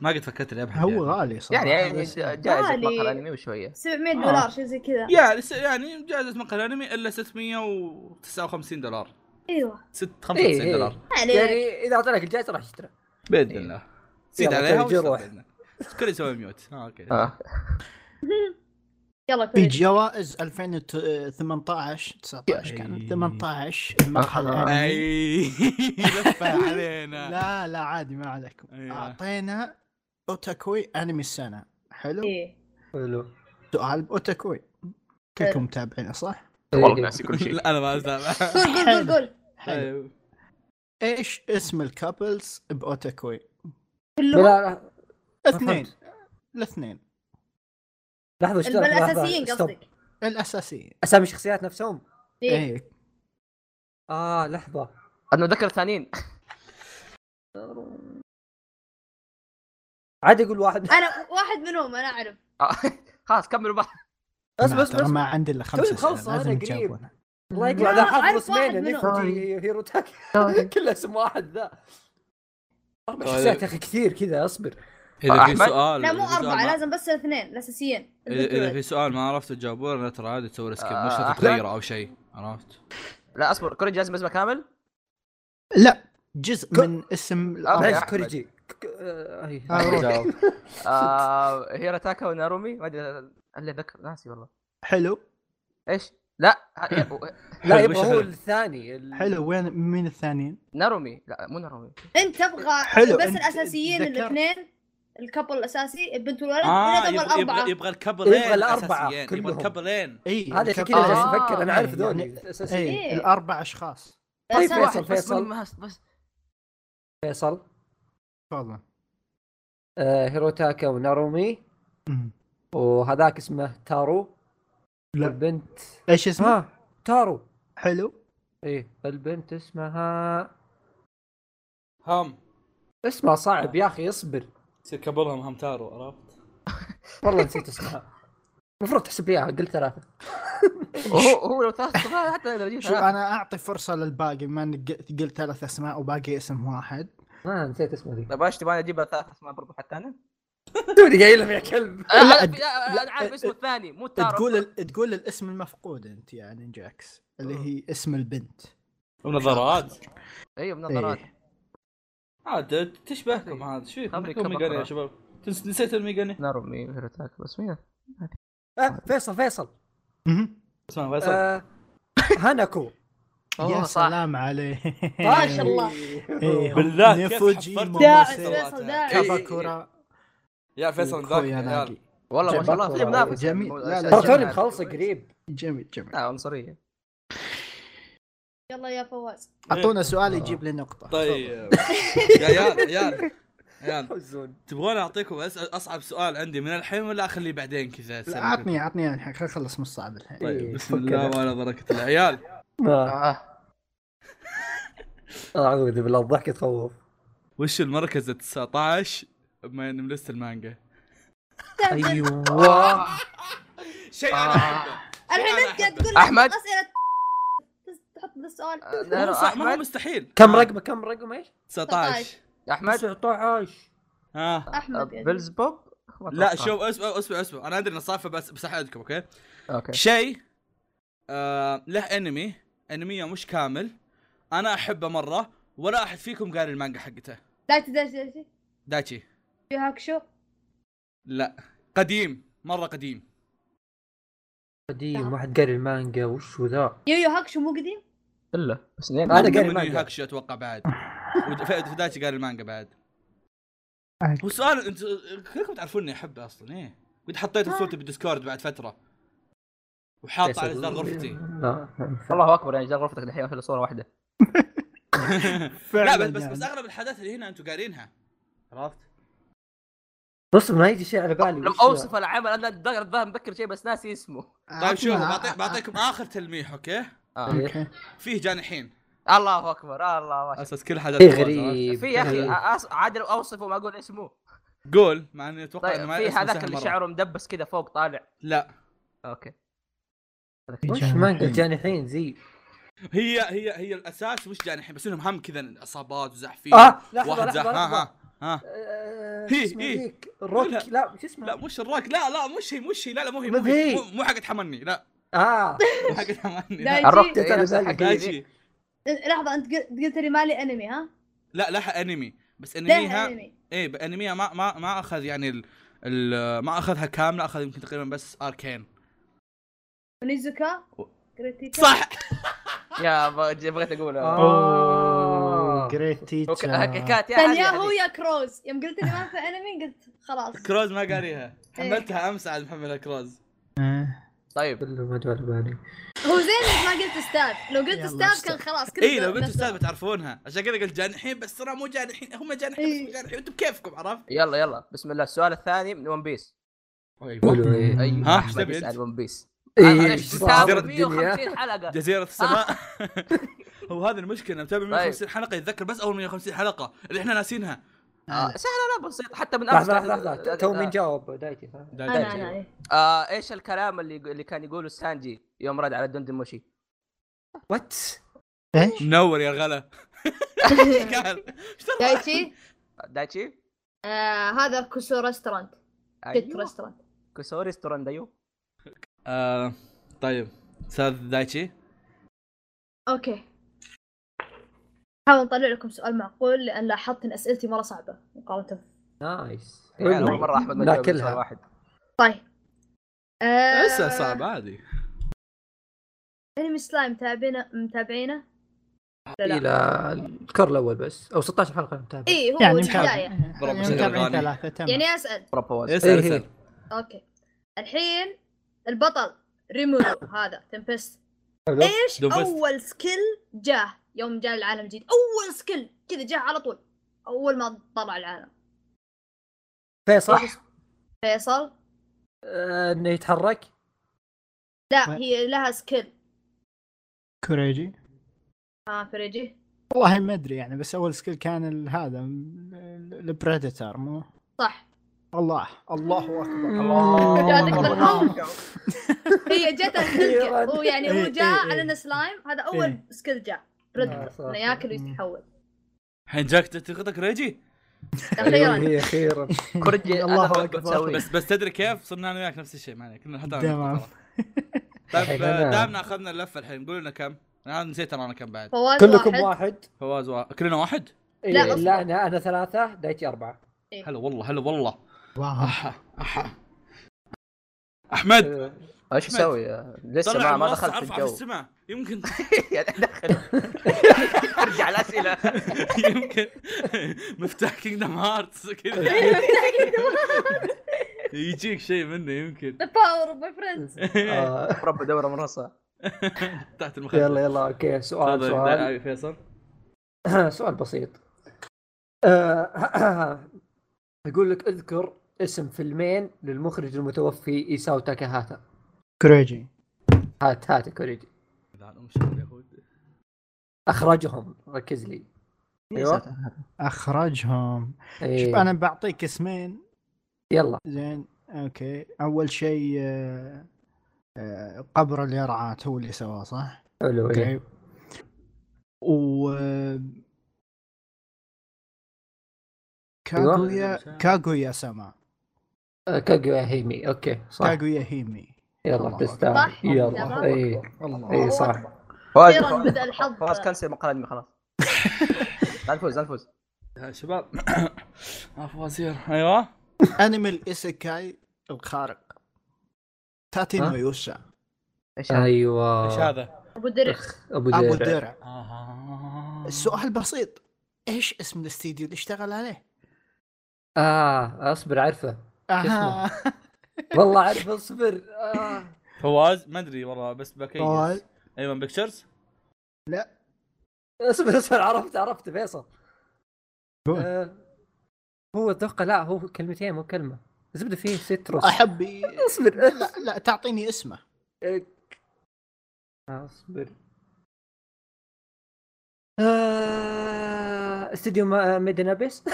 ما قد فكرت لي ابحث هو غالي صراحه يعني يعني بس- جائزة غالي. مقهى الانمي وشوية 700 آه. دولار شيء زي كذا يعني س- يعني جائزة مقهى الانمي الا 659 دولار ايوه 95 إيه، إيه. دولار عليك يعني اذا اعطيناك الجائزه راح تشتري باذن إيه. الله زيد يلا، عليها كل جروح. واشتغل. الكل يسوي ميوت آه، اوكي آه. يلا في كويس جوائز 2018 19 كانت 18 آه. المرحله الأولى. اي لفه علينا لا لا عادي ما عليكم أيوة. اعطينا اوتاكوي انمي السنه حلو إيه. حلو سؤال باوتاكوي كلكم متابعينه صح؟ إيه، والله ناسي كل شيء لا، انا ما اتابع قول قول قول قول حلو طيب. ايش اسم الكابلز باوتاكوي؟ لا كلهم لا اثنين الاثنين لحظه الب- اشترك لحظة، الاساسيين stop. قصدك الاساسيين اسامي الشخصيات نفسهم إيه. اي اه لحظه انا ذكر الثانيين عاد يقول واحد انا واحد منهم انا اعرف آه. خلاص كملوا بعض اسمع اسمع ما اسمع عندي الا خمسة توي اسئله مخلصة لازم أنا قريب. تجاوبون الله لا، يقطع ذا حافظ أعرف اسمين واحد طيب. نيفوتي هيرو تاكي كله اسم واحد ذا اربع طيب. شخصيات يا اخي كثير كذا اصبر اذا في أحمد؟ سؤال لا مو إذا في سؤال اربعه ما- لازم بس الاثنين الاساسيين اذا إذا في سؤال ما عرفت تجاوبه لا ترى عادي تسوي سكيب آه، مش أحمد؟ تغيره او شيء عرفت لا اصبر كوريجي لازم اسمه كامل لا جزء كل- من اسم آه، الأرض. يا عايز أحمد. كوريجي ك- آه، أي. يعني آه، روح. آه هيراتاكا ونارومي ما ادري اللي ذكر ناسي والله حلو ايش لا ه- لا حلو، يبغى وش هو هذا؟ الثاني ال- حلو وين مين الثانيين؟ نارومي لا مو نارومي انت تبغى حلو، بس أنت الاساسيين ذكرت. الاثنين الكبل الاساسي البنت والولد اه آه يبغى- هم يبغى- الاربعه يبغى الكبلين يبغى الأربعة أساسيين، يبغى كلهم. الكبلين اي هذا عشان الكابلز. كذا جالس آه. افكر انا إيه، عارف يعني- ذولي اساسيين اي إيه. الاربع اشخاص طيب، أساسي. فيصل، فيصل. بس- بس بس فيصل تفضل آه، هيروتاكا ونارومي مم. وهذاك اسمه تارو لا. البنت ايش اسمه؟ ها تارو حلو ايه البنت اسمها هم اسمها صعب يا اخي اصبر يصير كبرهم هم تارو عرفت والله نسيت اسمها المفروض تحسب لي إياها، قلت ثلاثة هو هو لو ثلاث صفار حتى لو جيت شوف آه. ثلاث انا اعطي فرصه للباقي بما انك قلت- قلت ثلاث اسماء وباقي اسم واحد ما آه، نسيت اسمها ذي طيب ايش تبغاني اجيب ثلاث اسماء برضو حتى انا؟ توني قايل لهم يا كلب أنا لا، عارف- أد- لا، لا، انا عارف اسمه الثاني مو تارو تقول ال- تقول الاسم المفقود انت يعني جاكس اللي هي اسم البنت ونظارات ايوه منظرات إيه. عاد تشبهكم عاد ايش فيكم خبري لكم كبر ميجاني يا خلاص. شباب تنس- نسيت الميجاني نارومي هيروتاكا بس مين آه، فيصل فيصل مهم. اسمع فيصل آه، هانكو يا سلام عليه إيه، ما شاء الله. إيه، بالله كيف نفوجي حفرت داعس موسى. الموسوعات. داعس. إي، إي، إي. كاباكورا يا فيصل إيه، ذاك وكويا يا عيال. ناجي. والله ما شاء الله جميل. في منافس جميل. يعني. لا، لا، ترى أشياء توني جميل. مخلصه قريب جميل جميل لا عنصريه يلا يا فواز اعطونا سؤال يجيب لي نقطه إيه. آه. طيب يا عيال عيال عيال حزون تبغون اعطيكم أس- اصعب سؤال عندي من الحين ولا اخليه بعدين كذا لا، أسألكم؟ اعطني اعطني الحين خلينا نخلص من الصعب الحين طيب إيه، بسم فك الله كذا. ولا بركه الله عيال آه، آه. اعوذ بالله الضحك تخوف وش المركز ال 19 من من لست المانجا؟ ايوه شيء أنا انا أحبه. احبه الحين انت قاعد تقول أحمد. اسئله تحط ذا السؤال لا، لا، ما هو احمد مستحيل آه، كم رقمه كم رقمه ايش؟ 19 احمد 19 ها احمد يعني. بيلز بوب ما آه. لا أتوقع. شوف اسمع اسمع اسمع انا ادري انه صافي بس بس احدكم اوكي؟ اوكي شيء آه له انمي انميه مش كامل انا احبه مره ولا احد فيكم قاري المانجا حقته لا تدري دايتشي في هاكشو لا قديم مره قديم قديم واحد قاري المانجا وش هو ذا؟ يو يو هاكشو مو قديم الا بس نين أنا قاري من المانجا. هاكشي اتوقع بعد ودايتشي قاري المانجا بعد هو سؤال انت كلكم تعرفوني احبه اصلا ايه قد حطيته في صورتي بالديسكورد بعد فتره وحاطه على جدار غرفتي لا الله اكبر يعني جدار غرفتك الحين في صوره واحده لا بس بس, يعني. بس اغلب الحاجات اللي هنا انتم قارينها عرفت؟ بص ما يجي شيء على بالي لم وش ذا؟ اوصف العمل انا الظاهر الظاهر مذكر شيء بس ناسي اسمه يعني. آه، طيب شوفوا بعطي بعطيكم اخر تلميح اوكي؟ آه. إيه. اوكي فيه جانحين الله اكبر الله اكبر اساس كل حاجات شيء جواز، عرفت؟ إيه، غريب في يا آه، اخي غريب. أص- عادل اوصفه ما اقول اسمه قول مع اني اتوقع طيب انه ما في اسمه هذاك سهل اللي مرة. شعره مدبس كذا فوق طالع لا اوكي آه. وش مانجا جاني الحين زي هي هي هي الاساس وش جاني الحين بس انهم هم كذا اصابات وزحفين آه. اه لحظه واحد زح لحظه ها لحظه ها ها آه، هي- اسمه هي. ذيك الروك لا. لا شو لا اسمه مش الراك لا لا مش هي مش هي لا لا مو هي ما مو هي في. مو- مو حقت حمني لا اه مو حقت حمني لا، لا الركض إيه، نفس إيه، الحكاية ذي. دايتشي لحظه انت قل- قلت لي مالي انمي ها؟ لا لها انمي بس ليه انميها انمي؟ ايه ب- انميها ما ما ما اخذ يعني ال... ال... ما اخذها كامله اخذ يمكن تقريبا بس اركين ونيزوكا؟ و- جريتيكا؟ صح يا ب- بغيت اقولها آه. اوه جريت اوكي أوكي، كات يا كان هذه يا هو هذه. يا كروز يوم قلت لي ما في انمي قلت خلاص كروز ما قاريها حملتها امس عاد محملها كروز طيب كله ما جاء على بالي هو زين إنك ما قلت استاذ لو قلت يلا استاذ كان أستاذ. خلاص كل اي إيه، لو قلتوا استاذ بتعرفونها عشان كذا قلت جانحين بس ترى مو جانحين هم جانحين بس إيه. مو جانحين انتم بكيفكم عرفت؟ يلا يلا بسم الله السؤال الثاني من ون بيس قولوا إيه. ايوه ها، إيش احمد تبي يسال أنت؟ ون بيس إيه، أنا إيش متابع صار 150 حلقه جزيرة السماء هو هذه المشكلة متابع 150 طيب. حلقة يتذكر بس أول 150 حلقة اللي احنا ناسينها آه، سهله لا بسيط حتى من امس لحظه كانت- لحظه لحظه تو مين جاوب دايتي انا انا إيه. آه، ايش الكلام اللي اللي كان يقوله سانجي يوم رد على دندنموشي وات منور يا غلا ايش قال؟ إيش ترى؟ دايتشي دايتشي آه هذا كوسو ريستورانت كيت ايوه ريستورانت كسوري ستوران دايو آه، طيب استاذ دايتشي اوكي حاول نطلع لكم سؤال معقول لان لاحظت ان اسئلتي مره صعبه مقارنه نايس يعني اول مره احمد ما أيوه. لا، جاوب كلها. سؤال واحد طيب آه لسه صعب عادي انمي سلايم متابعينه متابعينه؟ لا إيه، لا. الى الكر الاول بس او 16 حلقه متابع اي هو يعني البدايه ضرب متابعين بسيط. متابعين ثلاثة تمام يعني اسال بروبوز اسال إيه. اسال اوكي الحين البطل ريمورو هذا تمبست ايش دومفست. اول سكيل جاه يوم جاء العالم الجديد اول سكيل كذا جاه على طول اول ما طلع العالم فيصل فيصل آه، انه يتحرك لا ما- هي لها سكيل كوريجي ها فريجي والله ما ادري يعني بس اول سكيل كان ال- هذا ال- ال- البريدتر مو صح الله الله اكبر جاتك أكبر. بالهم هي جت أخيراً. هو يعني هو أيوة. إيه، جاء إيه، على إيه. انه سلايم هذا اول إيه. سكيل جاء آه، بريدتر صح. انه ياكل ويتحول الحين جاك تاخذك ريجي أيوة، اخيرا أيوه، هي اخيرا كرجي الله الله أكبر. طيب. اكبر بس بس تدري كيف صرنا انا وياك نفس الشيء ما عليك كنا حتى تمام. طيب أنا- دامنا اخذنا اللفه الحين قول لنا كم انا نسيت ترى انا كم بعد فواز كلكم واحد واحد فواز وا... كلنا واحد إيه، لا، أصلاً. لا انا انا ثلاثه دايتي اربعه هلا والله هلا والله واو احا احا احمد آه، ايش اسوي لسه طلع إيه، ما, ما المنصة دخلت في ارفع في الجو السماء يمكن يعني دخل ارجع الاسئله يمكن مفتاح كينجدم هارتس كذا يجيك شيء منه يمكن ذا باور اوف ماي فريندز آه، رب دوره منصه تحت المخدة يلا يلا اوكي سؤال تفضل سؤال يا فيصل سؤال بسيط آه، يقول لك اذكر اسم فيلمين للمخرج المتوفي ايساو تاكاهاتا كوريجي هات هات كوريجي لا، أنا مش عارف يا أخوي. اخرجهم ركز لي إيه. ايوه اخرجهم شوف إيه. انا بعطيك اسمين يلا زين اوكي اول شيء آه، آه، قبر اليرعات هو اللي سواه صح؟ حلو إيه. اوكي و آه، أيوة. كاغويا كاغويا سما آه، كاغويا هيمي اوكي صح كاغويا هيمي يلا الله تستاهل أكبر. يلا الله اي اي الله صح اخيرا بدا الحظ خلاص كنسل مقال خلاص لا نفوز لا نفوز يا شباب عفوا وزير ايوه انمي الايسيكاي الخارق تاتي ها؟ نويوشا ايش آه، هذا؟ إيه. ايوه آه. ايش هذا؟ ابو درع ابو درع ابو الدرع آه. السؤال بسيط ايش اسم الاستديو اللي اشتغل عليه؟ اه اصبر عارفه اها والله عارفه اصبر آه. فواز ما ادري والله بس أيوة، بكيس فواز. ايمن بيكتشرز اصبر اصبر عرفت عرفت فيصل قول. آه، هو اتوقع لا هو كلمتين مو كلمه زبده فيه ستروس احبي اصبر لا لا تعطيني اسمه اصبر آه، استديو ما- ميدنابيس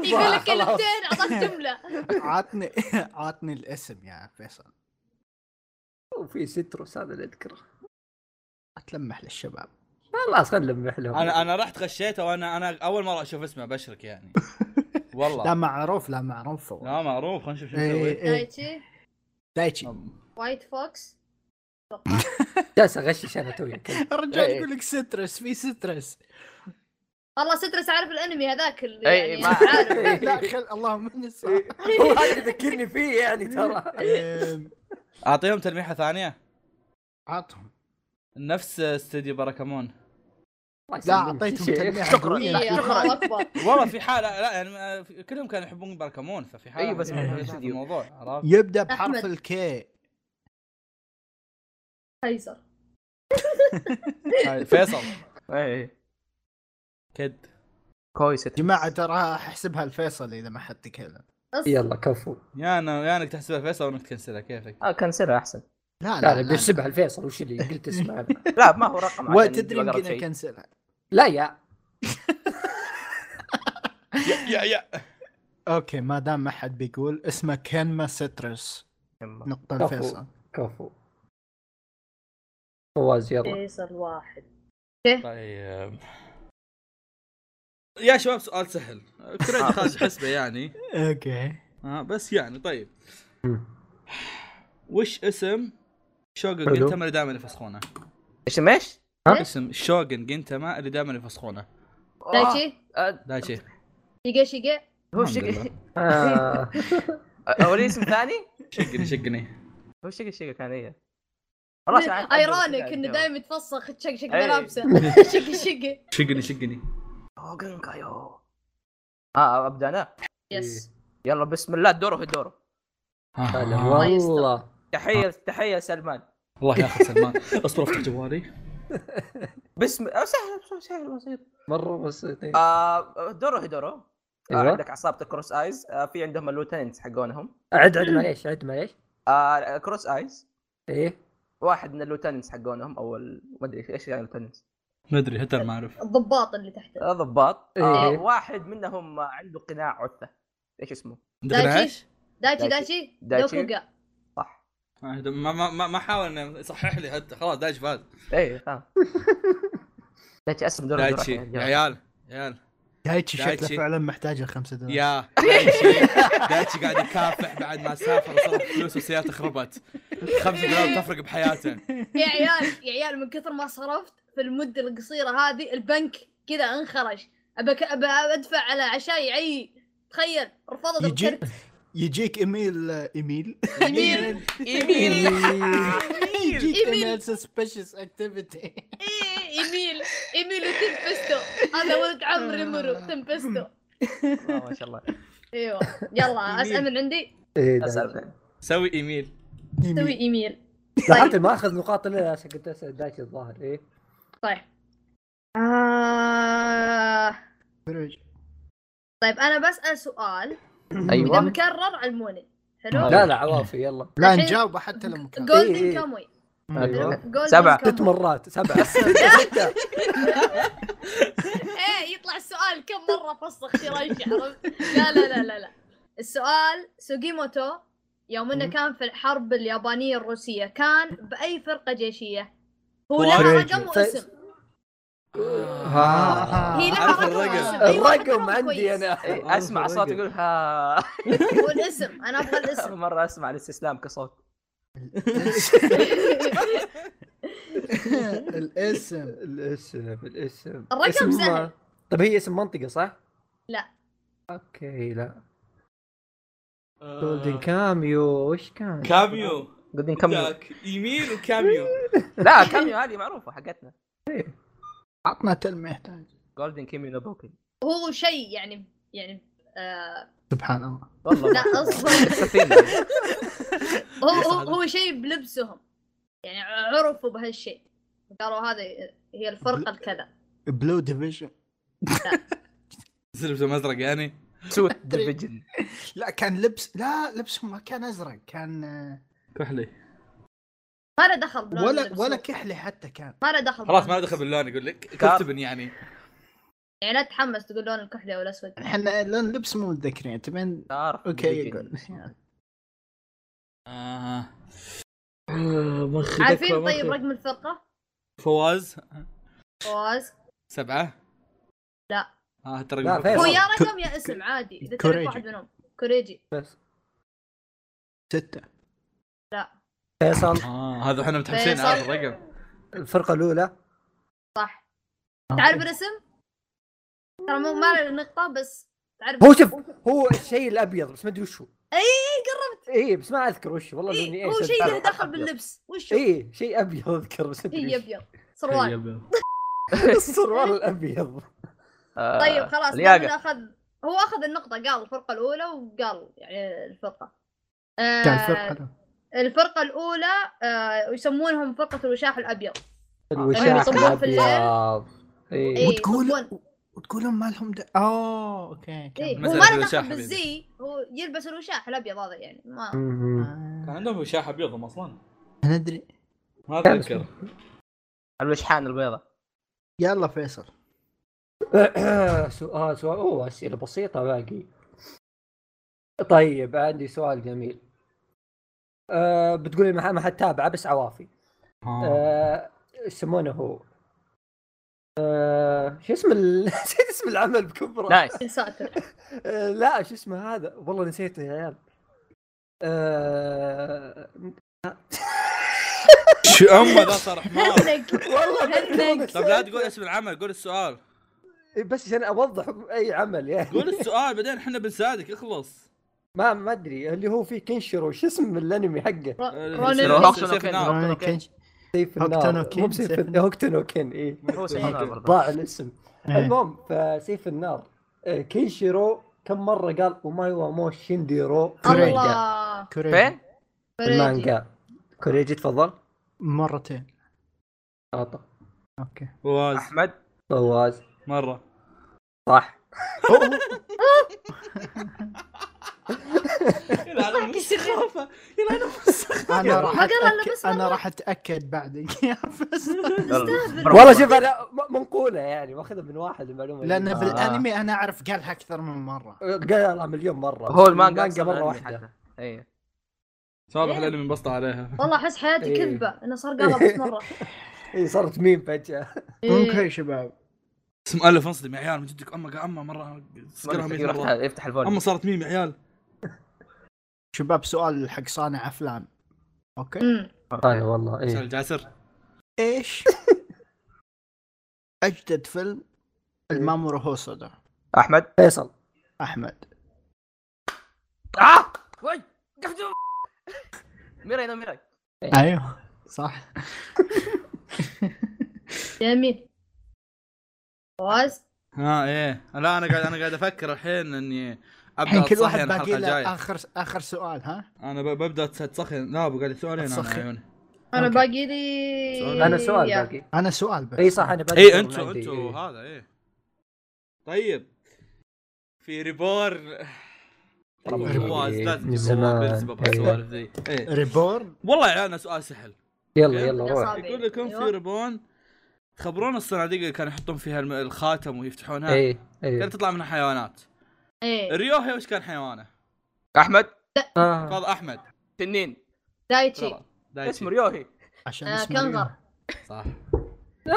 يقول لك خلاص. كلمتين اعطاك جمله عطني عطني الاسم يا فيصل وفي ستروس هذا اللي اذكره اتلمح للشباب خلاص خلينا نلمح لهم انا انا رحت غشيته وانا انا اول مره اشوف اسمه بشرك يعني والله لا لا معروف لا معروف هو. معروف خلينا نشوف شو إيه، نسوي إيه. دايتشي دايتشي وايت فوكس جالس اغشش انا توي الرجال إيه. يقول لك سترس في سترس والله سترس عارف الانمي هذاك اللي إي، يعني ما- عارف لا خل اللهم اني صح هو إيه. هذا يذكرني فيه يعني ترى إيه، اعطيهم تلميحه ثانيه عطهم نفس استديو باراكامون لا اعطيتهم تلميح شكراً. قوية. إي، الله اكبر والله في حاله لا يعني آه، في- كلهم كانوا يحبون باراكامون ففي حاله أيوة، بس إيه، ما ما في في الموضوع عرفت يبدا بحرف أحمد. الكي قيصر طيب، فيصل اي كد إيه، كويس جماعه ترى احسبها الفيصل اذا ما حد تكلم أص- يلا كفو يا انا يا انك تحسبها فيصل وانك تكنسلها كيفك اه كنسلها احسن لا لا يعني لا, انا بيشبه الفيصل وش اللي قلت اسمه انا لا ما هو رقم عشان وتدري نقدر يمكن شيء. اكنسلها لا يا يا يا اوكي ما دام ما حد بيقول اسمه كنما سترس نقطه كفو. الفيصل كفو فواز يلا قيصر واحد طيب يا شباب سؤال سهل كريدي آه. خارج حسبه يعني اوكي آه بس يعني طيب مم. وش اسم شوغن حلو. جنتما اللي دائما يفسخونه؟ ايش ايش؟ ها؟ اسم شوغن جنتما اللي دائما يفسخونه دايتشي آه، دايتشي شيقي شيقي هو الحمد شقي لله. آه، آه، هو ليه اسم ثاني؟ شقني شقني هو شقي شقي كان إيه؟ هي ايرونيك انه دايم يتفسخ تشقشق إي. ملابسه شقي شقي شقني شقني اوغن كايو اه ابدا انا يس يلا بسم الله دوره في دوره هلا آه. يستر. والله آه. تحيه تحيه سلمان الله ياخذ سلمان اصبر افتح جوالي بسم آه، سهل سهل بسيط مره بسيطين آه دورو هيدورو آه أيوة. عندك عصابه الكروس ايز آه في عندهم اللوتننتس حقونهم عد عد معليش عد معليش آه كروس ايز ايه واحد من اللوتننتس حقونهم او ال- ما ادري ايش يعني اللوتننتس ما ادري هتر ما اعرف الضباط اللي تحته آه، ضباط آه إيه. واحد منهم عنده قناع عثه ايش اسمه؟ عندنا دايتشي؟ ايش؟ دايتشي دايتشي. دايتشي دايتشي. دوكوغا صح ما آه، ما ما, ما حاول انه يصحح لي حتى خلاص دايتشي فاز اي إيه، فاهم دايتشي اسم دورو هيدورو. دايتشي يا عيال يا عيال دايتشي شكله دايتشي. فعلا محتاج الخمسة دولار يا دايتشي دايتشي قاعد يكافح بعد ما سافر وصرف فلوس وسيارته خربت خمسة دولار تفرق بحياته يا عيال يا عيال من كثر ما صرفت في المده القصيره هذه البنك كذا انخرج أبك أبى ادفع على عشاي عي تخيل رفضت يجي الكرت يجيك ايميل ايميل إيميل. ايميل يجيك إيميل. ايميل سسبشس اكتيفيتي إيه، ايميل ايميل وتنفستو هذا ولد آه. عمري مرو تنفستو والله ما شاء الله ايوه يلا اسال من عندي ايه إيه، ده. اسال سوي ايميل سوي طيب، ايميل لاحظت ما اخذ نقاط الا عشان كنت اسال دايتشي الظاهر ايه طيب آه... طيب انا بسال سؤال اذا ايوه مكرر علموني حلو لا لا عوافي يلا لا الحين- أيوة. نجاوبه حتى لو مكان إيه، جولدن إيه. كاموي ايوه جولدن سبعة. كاموي. ست مرات سبعه ستة. ايه يطلع السؤال كم مره فسخ يرجع عرفت؟ لا لا لا لا لا السؤال سوجيموتو يوم انه مم. كان في الحرب اليابانيه الروسيه كان باي فرقه جيشيه؟ هو فريق. لها رقم طيب، واسم آه. هي لها أعرف رقم الرقم. واسم أيوة، رقم الرقم كويس. عندي انا إيه، اسمع صوت يقول ها والاسم انا ابغى اول الاسم مره اسمع الاستسلام كصوت الاسم الاسم الاسم الرقم اسم ما- سهل. طب هي اسم منطقه صح؟ لا. اوكي لا جولدن كاميو وش كان؟ آه. كاميو قدين كم ايميل وكاميو لا كاميو هذه معروفه حقتنا عطنا تلميح تاني. جولدن كيمي نوبوكي هو شيء يعني يعني آه سبحان الله والله لا اصبر السفينه هو هو, هو شيء بلبسهم يعني عرفوا بهالشيء قالوا هذه هي الفرقه الكذا بلو ديفيجن سلبس مزرق يعني سوت ديفيجن لا كان لبس لا لبسهم ما كان ازرق كان آه، كحلي ما له دخل بلون ولا الرسوم. ولا كحله حتى كان ما له دخل خلاص ما بلون. دخل باللون يقول لك كتبن يعني يعني لا تتحمس تقول لون الكحلي او الاسود احنا لون اللبس مو متذكرين يعني تبين صار اوكي يقول آه. آه، مخي عارفين دكوة، طيب مخي. رقم الفرقه؟ فواز فواز سبعة لا. اه ترى لا، قبل- هو فيصل. يا رقم يا اسم عادي اذا تعرف كوريجي. واحد منهم كوريجي بس ستة فيصل اه هذا احنا متحمسين فيصل. على الرقم الفرقه الاولى صح آه، تعرف الاسم؟ ترى مو ما له نقطه بس تعرف هو شوف هو الشيء الابيض بس ما ادري وش هو اي اي قربت اي بس ما اذكر وش والله اي لوني ايش هو شيء له أذكر. دخل باللبس وش هو؟ اي شيء ابيض اذكر بس ما اي ادري ابيض سروال السروال الابيض آه، طيب خلاص لياقة. لياقة. اخذ هو اخذ النقطة قال الفرقة الأولى وقال يعني الفرقة. آه كان فرقة الفرقة الأولى آه يسمونهم فرقة الوشاح الأبيض. الوشاح يصبون في الليل. الابيض اي إيه، وتقول يصبون- وتقولون ما لهم د... آه، اوه اوكي إيه كان هو مسألة ما له الوشاح دخل حبيبي. بالزي هو يلبس الوشاح الأبيض هذا يعني ما مهم. آه، كان عندهم وشاح ابيضهم اصلا أنا ادري ما اتذكر الوشحان البيضة يلا فيصل سؤال سؤال اوه اسئله بسيطه باقي طيب عندي سؤال جميل أه بتقولي ما ما حد تابعه بس عوافي آه. أه، ايش يسمونه هو أه شو اسم ال... نسيت اسم العمل بكبره نايس ساتر أه لا شو اسمه هذا والله نسيته يا عيال أه شو اما ذا صار حمار والله بذكره طب لا تقول اسم العمل قول السؤال بس عشان اوضح اي عمل يعني قول السؤال بعدين احنا بنساعدك اخلص ما ما ادري اللي هو فيه كنشرو شو اسم الانمي حقه روح. رونن شنو سيف كان؟ النار. روني أوكي. كينج. سيف هوكتانو النار كين، مو بسيف سيف النار النار. إيه. هوكتانو كين اي هو سيف النار برضه ضاع الاسم المهم فسيف النار آه، كينشيرو كم مرة قال وماي وامو شينديرو كوريجي. كوريجا الله كوريجي. فين؟ فريدي المانجا كوريجي تفضل مرتين عطى اوكي فواز احمد فواز مره صح يلعن ضحك السخافة. انا راح ما قال إلا أتأكد- بس انا مرة. راح اتاكد بعدك يا فيصل برافو. والله شوف انا م- منقولة يعني واخذها من واحد المعلومة لان دي. آه. بالانمي انا اعرف قالها اكثر من مره آه، قالها مليون مرة هو المانجا أصلاً إيه. مرة عندي واحدة حتى. اي صالح الانمي انبسط عليها والله أحس حياتي إيه. كذبة أنا صار قالها بس مرة اي صارت ميم فجأة إيه. اوكي شباب اسم الف انصدم يا عيال من جدك اما قا- اما مره سكرها 100 يروح مره يفتح الفون اما صارت ميم يا عيال شباب سؤال حق صانع افلام اوكي أمم. طيب انا والله إيه. سال اي جاسر ايش اجدد فيلم المامورو هوسودا احمد فيصل احمد اه وي قفزوا. ميراي نو ميراي ايوه صح جميل فواز ها ايه لا انا قاعد انا قاعد افكر الحين اني الحين ابدا كل واحد اتصحن باقي الحلقه له الجايه اخر اخر سؤال ها انا ب- ببدا اتصحن لا بقى لي سؤالين انا أتصخن. عيوني أنا أوكي. باقي لي انا سؤال يا. باقي انا سؤال بس اي صح انا باقي اي سؤال انتو عندي. انتو إيه. هذا ايه طيب في ريبورن إيه. فواز لازم من تجيب زمان. فواز بالسبب إيه. السوالف ذي إيه. ريبورن والله يا عيال سؤال سهل يلا يلا يا روح صاحبي. يقول لكم في أيوة. ريبورن تخبرون الصناديق اللي كانوا يحطون فيها الم- الخاتم ويفتحونها اي اي كانت تطلع منها حيوانات إيه ريوهي وش كان حيوانه؟ احمد آه. تفضل احمد تنين دايتشي غلط. دايتشي. اسمه ريوهي عشان آه، اسمه كنغر. ريو. صح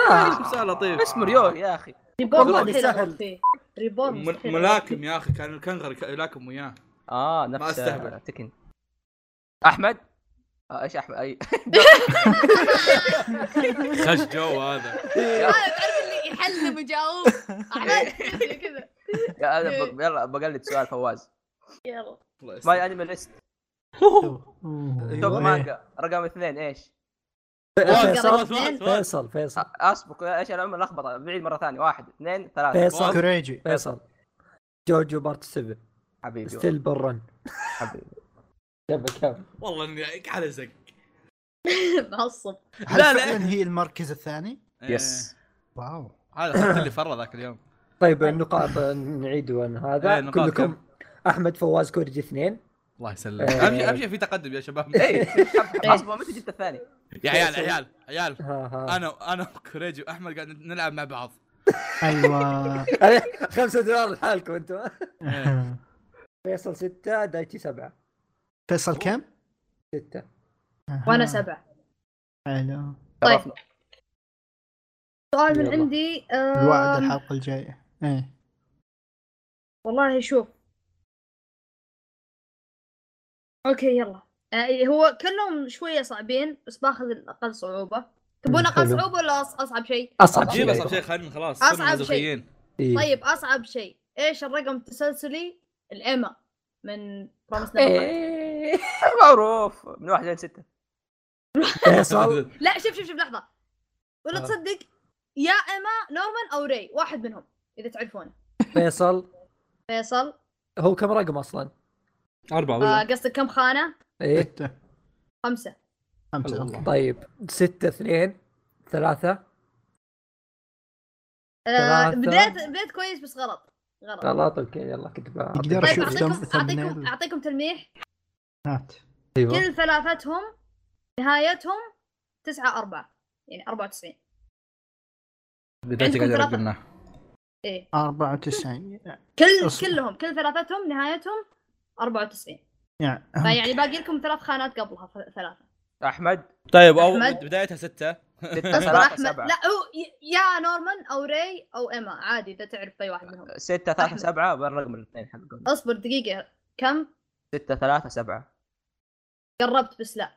آه. سؤال لطيف اسمه ريوهي يا اخي ريبورن والله مستحيل سهل. أغلط فيه ريبورن م- مستحيل أغلط فيه. ملاكم يا اخي كان الكنغر ك- يلاكم وياه اه ما نفس أستهبل. آه، تكن احمد آه، ايش احمد اي خش جو هذا يا- آه، تعرف اللي يحلم ويجاوب أحلام كذا يا أنا ب- إيه. يلا بقلد سؤال فواز يلا ماي انمي ليست أوه. توب إيه. مانجا رقم اثنين ايش؟ فواز، فيصل فواز، فواز. فيصل فيصل آه، اسبق ايش انا عمري لخبطه بعيد مره ثانيه واحد اثنين آه، إيه. ثلاثه فيصل كوريجي فيصل جوجو بارت 7 حبيبي والله، ستيل برن حبيبي كم كم والله اني على زق معصب هل لا، لا. فعلا هي المركز الثاني؟ إيه. يس واو هذا اخذت اللي فرى ذاك اليوم طيب النقاط نعيد وأن إيه، هذا نقاط كلكم احمد فواز كورجي اثنين الله يسلمك اهم شيء اهم شيء في تقدم يا شباب إيه. اي إيه. حسبه متى جبت الثاني يا عيال عيال عيال ها ها انا انا وكوريجي واحمد قاعد نلعب مع بعض ايوه خمسة دولار لحالكم انتم فيصل ستة دايتي سبعة فيصل كم؟ ستة وانا سبعه حلو طيب سؤال من يلا. عندي الوعد آه الحلقه الجايه ايه والله شوف اوكي يلا آه هو كلهم شويه صعبين بس باخذ الاقل صعوبه تبون مم، اقل حلو. صعوبه ولا أص- اصعب شيء؟ اصعب شيء جيب اصعب شيء خلينا خلاص أصعب صرنا مزوخيين. إيه. طيب اصعب شيء ايش الرقم التسلسلي الاما من برومس إيه، معروف من واحد لين سته فيصل لا شوف شوف شوف لحظه ولا آه. تصدق يا اما نومان او ري واحد منهم اذا تعرفونه فيصل فيصل هو كم رقم اصلا؟ اربعه آه ولا قصدك كم خانه؟ ايه ستة خمسه خمسة والله. أوكي. طيب ستة اثنين ثلاثة آه ثلاثة. بديت بديت كويس بس غلط غلط غلط اوكي يلا كنت بأعطيك. يقدر طيب أشوف اعطيكم اعطيكم ثم- thumbnail. اعطيكم تلميح هات ايوه أيوة. كل ثلاثتهم نهايتهم 9 4 يعني 94 بدايتي عندكم قاعد ثلاثة. ارقمنا 94 كل أصلاً. كلهم كل ثلاثتهم نهايتهم 94 يعني فيعني باقي لكم ثلاث خانات قبلها ف- ثلاثه احمد طيب او أحمد. بدايتها سته سته اصبر ثلاثه احمد سبعه لا هو ي- يا نورمان او ري او ايما عادي اذا تعرف اي واحد منهم سته ثلاثه أحمد. سبعه بالرقم الاثنين حقهم اصبر دقيقه كم سته ثلاثه سبعه قربت بس لا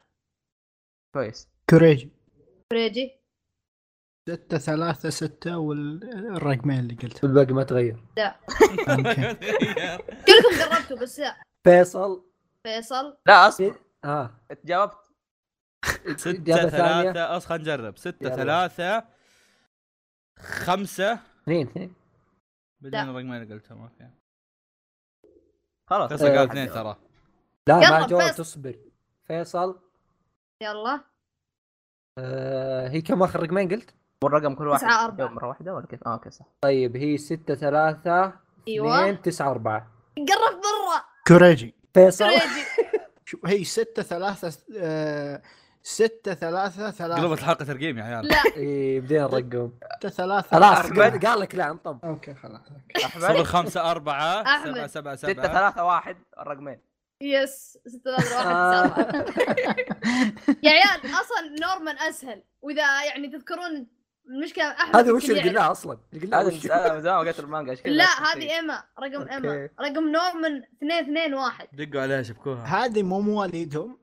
كويس كوريجي فريجي 6 3 6 والرقمين اللي قلته والباقي ما تغير أوكي. كلكم قربتوا بس لا فيصل فيصل لا إيه. اصبر اه جاوبت يلا سته ثانية. ثلاثه اص خلينا نجرب سته يلا. ثلاثه خمسه اثنين اثنين بعدين الرقمين اللي قلتهم اوكي خلاص آه، فيصل قال اثنين ترى لا يلا، ما جاوبت فيصل. تصبر فيصل يلا آه هي كم اخر رقمين قلت؟ والرقم كل واحد تسعة أربعة. جاوب مره واحده ولا كيف؟ اه اوكي صح طيب هي ستة ثلاثة ايوه اثنين تسعة أربعة قربت مره كوريجي فيصل فريجي شو هي آه، 6 3 6 3 قلبت 3 الحلقه ترقيم يا عيال لا إيه بدينا نرقم 6 3 خلاص أحمد. قال- قال لك لا انطب اوكي خلاص أوكي. صفر احمد خمسة أربعة أحمد. سبعة سبعة سته سبعة ثلاثه واحد الرقمين يس 6 3 آه، واحد سبعة. يا عيال اصلا نورمان اسهل واذا يعني تذكرون المشكله احمد هذا وش اللي يمكن يعرف. قلناه اصلا؟ اللي قلناه هذا وش؟ المسألة من زمان ما قلت المانجا إيش كذا لا نفس الشيء. هذه ايما رقم ايما إيه. أوكي. رقم نورمان 2 2 1 دقوا عليها شبكوها هذه مو مواليدهم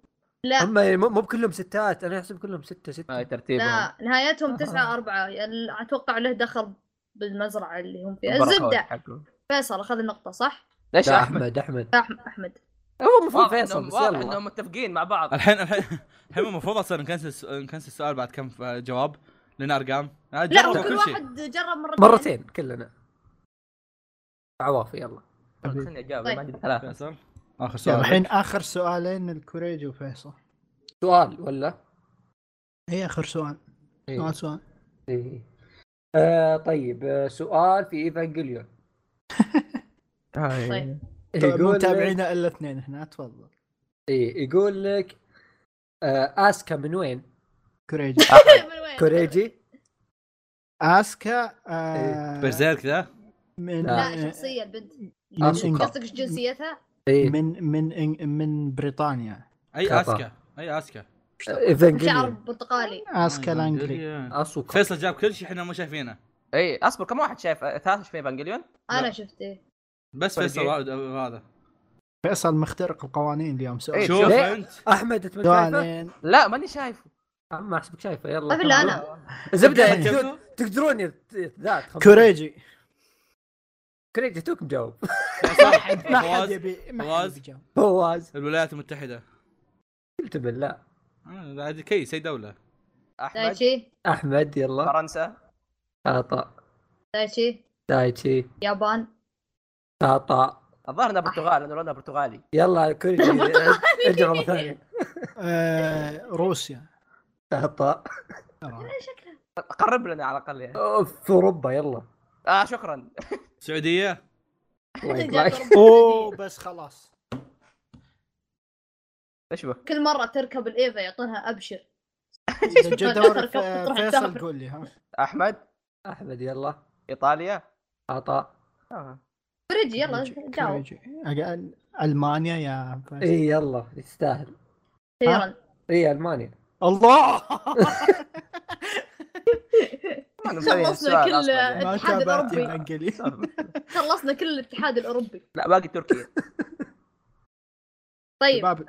لا هم مو مو بكلهم ستات انا احسب كلهم ستة ما هي ستة ترتيبهم لا نهايتهم آه. 9 4 يعني اتوقع له دخل بالمزرعه اللي هم فيها البركوت الزبده حقه. فيصل اخذ النقطه صح؟ ليش لا يا احمد؟ احمد احمد أح- احمد هو المفروض واضح فيصل انهم بس واضح يلا انهم متفقين مع بعض الحين الحين الحين المفروض أصلا نكنسل الس- نكنسل السؤال بعد كم ف- جواب لنا أرقام أنا لا جربوا هو كل كل شيء واحد جرب مرتين مرتين كلنا عوافي يلا خليني اجاوب طيب. ما عندي ثلاثة فيصل آخر يلا، سؤال الحين اخر سؤالين الكوريجي وفيصل سؤال ولا؟ هي اخر سؤال إيه. سؤال سؤال إيه. آه طيب آه سؤال في ايفانجليون طيب. طيب مو يقول لك متابعينا الا اثنين هنا تفضل إيه يقول لك آه اسكا من وين؟ كوريجي آه. من وين؟ كوريجي اسكا إيه. آه برزيرك ذا من آه. لا شخصية البنت يعني من أسكا. قصدك إيش جنسيتها؟ إيه من من إن- من بريطانيا أي كفا. أسكا أي أسكا شعر ايفانجليون برتقالي آه، اسكا لانجلي اسوكا فيصل جاب كل شيء احنا ما شايفينه اي اصبر كم واحد شايف آه، ثلاثة شايف ايفانجليون؟ أنا لا. شفته بس فرقين. فيصل وهذا- هذا فيصل مخترق القوانين اليوم سؤال إيه. شوف ليه؟ أنت احمد انت ما شايفه؟ سؤالين لا ماني شايفه ما احسبك شايفه يلا قبل أنا إيه، زبده كمل، تقدرون- تقدرون يا ذات خمسة. كوريجي كوريجي توك مجاوب فيصل، ما حد فواز، يبي ما حد فواز. يبي يجاوب. فواز الولايات المتحدة قلت بالله آه، هذه كيس أي دولة احمد دايتشي احمد يلا فرنسا خطا دايتشي دايتشي يابان خطا الظاهر انها برتغال لانه لونها برتغالي يلا كوريجي ارجع مره ثانيه آه، روسيا خطا ترى. قرب لنا على الاقل يعني في اوروبا يلا اه شكرا السعودية الله يقطعك. اوه بس خلاص ايش به؟ كل مره تركب الايفا يعطونها ابشر اذا جا دور تروح آه، فيصل تسافر. قول لي ها احمد احمد يلا ايطاليا عطاء آه. فريجي يلا جاوب كوريجي. أقل- المانيا يا فيصل. إيه. اي إيه، يلا يستاهل إيه، اخيرا اي المانيا الله ما نبغى خلصنا السؤال كل أصلاً يعني. ما الاتحاد تابعت الاوروبي الانجليزي خلصنا كل الاتحاد الاوروبي لا باقي تركيا طيب شباب آم،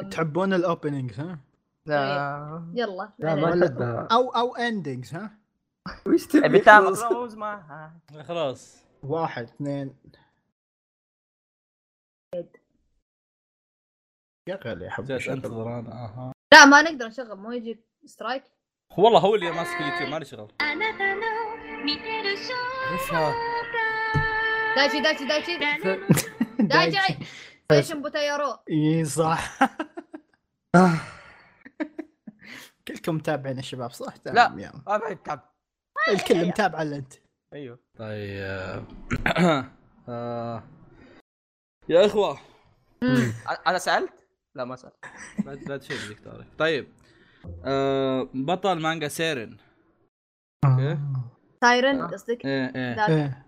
تحب- تحبون الاوبننجز ها؟ لا. يلا لا ما ولا- احبها او او اندنجز ها؟ وش تبي بتاع خلص. مقروز ما خلاص واحد اثنين شغل يا حبيبي جالس شغل. انتظر انا اها لا ما نقدر نشغل ما يجي سترايك والله هو اللي ماسك اليوتيوب مالي شغل あなたの見てる瞬 عرفها دايتشي دايتشي دايتشي دايتشي سيشن بوتايرو اي صح آه، كلكم متابعين يا شباب صح؟ تمام، لا. يلا. ما بعد تعب الكل متابع الا انت ايوه طيب آه. يا اخوه أ- انا سالت لا ما سالت لا لا تشيل ذيك تعرف طيب آه بطل مانجا سيرن أوكي. سايرن قصدك ايه ايه ذاك إيه.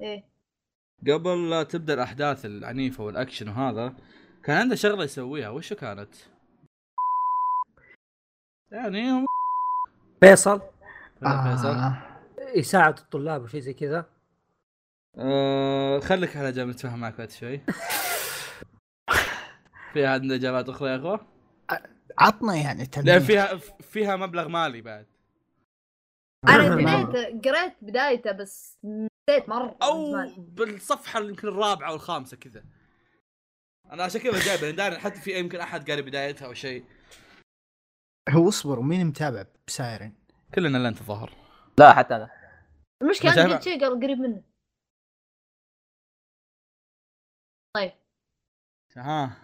ايه قبل لا تبدا الاحداث العنيفه والاكشن وهذا كان عنده شغله يسويها وشو كانت؟ يعني هو- فيصل فيصل. آه. يساعد الطلاب وشي زي كذا آه خليك على جنب نتفاهم معك بعد شوي في احد عنده اجابات اخرى يا اخوه؟ عطنا يعني لان تنبيه فيها فيها مبلغ مالي بعد انا بدايته قريت بدايته بس نسيت مره او من زمان. بالصفحه يمكن الرابعه او الخامسه كذا انا عشان كذا جايبه لان داري حتى في يمكن احد قاري بدايتها او شيء هو اصبر مين متابع بسايرن؟ كلنا لا نتظاهر لا حتى انا المشكله انا متابع. قلت شيء قريب منه طيب ها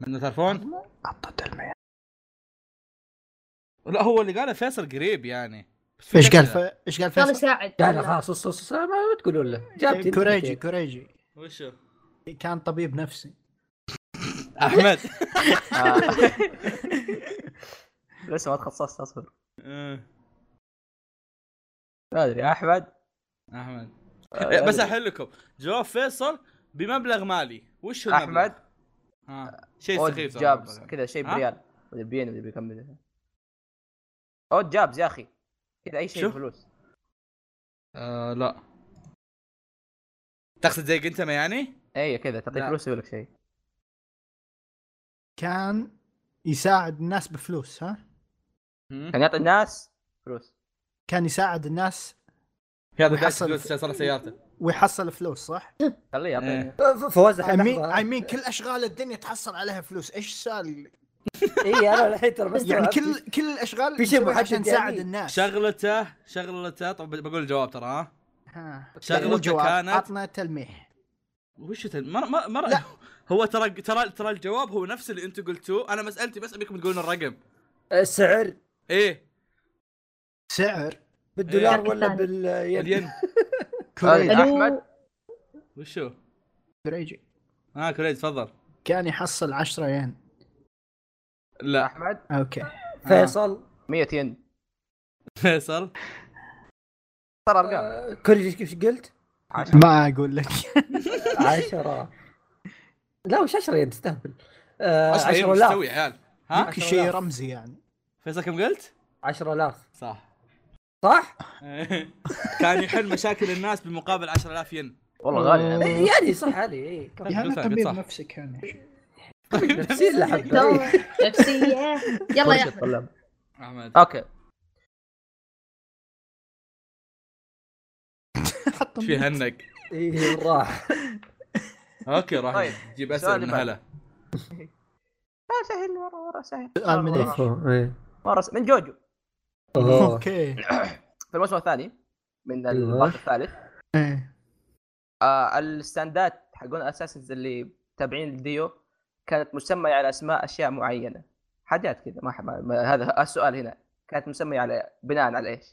من تعرفون؟ عطت المياه لا هو اللي قاله فيصل قريب يعني بس في ايش قال كذا. ف- ايش قال يلا فيصل؟ ساعد قال خلاص صص صص ما تقولون له جابت إيه، كوريجي كوريجي وشو؟ كان طبيب نفسي احمد آه. لسه ما تخصصت اصبر آه، ما ادري احمد احمد إيه، بس احل لكم جواب فيصل بمبلغ مالي وش هو المبلغ؟ احمد ها شيء اود سخيف صراحة جابز المبلغ. كذا شيء ها؟ بريال مدري بين مدري بيكمل اود جابز يا اخي كذا اي شيء شو؟ بفلوس آه لا تقصد زي قنتما يعني؟ اي إيه، كذا تعطيه لا. فلوس يقول لك شيء كان يساعد الناس بفلوس ها؟ مم. كان يعطي الناس فلوس كان يساعد الناس هذا داش حصل- فلوس عشان صار سيارته ويحصل فلوس صح؟ خليه يعطيني إيه. فواز اي الحين مين لحظة. اي مين كل اشغال الدنيا تحصل عليها فلوس، ايش السؤال؟ اي انا إيه، الحين ترى بس يعني كل كل الاشغال في شيء نسويها عشان محدد نساعد يعني. الناس شغلته شغلته طب بقول الجواب ترى ها ها. شغلته مو جواب، كانت- عطنا تلميح وش تل... ما ما, ما... لا. هو ترى ترى ترى الجواب هو نفس اللي انتم قلتوه انا مسالتي بس ابيكم تقولون الرقم السعر ايه سعر بالدولار إيه. ولا بالين الين كوريجي هذه احمد وشو؟ كوريجي ها كريد تفضل كان يحصل 10 ين لا احمد اوكي فيصل 100 ين فيصل آه، ترى إيه. ارقام آه، كوريجي ايش قلت؟ ما اقول لك 10 لا وش 10 ين تستهبل آه، اصلا إيه 10000 وش تسوي يا عيال؟ ها؟ يمكن شيء رمزي يعني فيصل كم قلت؟ 10000 صح صح؟ كان يحل مشاكل الناس بمقابل 10000 ين والله غالي يعني إيه، يعني صح علي اي يا يعني أنا طبيب صح. نفسي كان نفسي إيه. اللي دور. حبه نفسيه يلا طيب، يا احمد طلب. احمد اوكي حط ايش في هنك؟ اي إيه، راح اوكي راح طيب. نجيب اسئله سؤال من بعد. هلا آه، سهل مره مره سهل سؤال من ايش؟ مره سهل. من جوجو أوه. اوكي في الموسم الثاني من أيوه. البارت الثالث إيه. آه الستاندات حقون الاساسنز اللي متابعين ديو كانت مسميه على اسماء اشياء معينه حاجات كذا ما, ما, ما هذا السؤال هنا كانت مسميه على بناء على ايش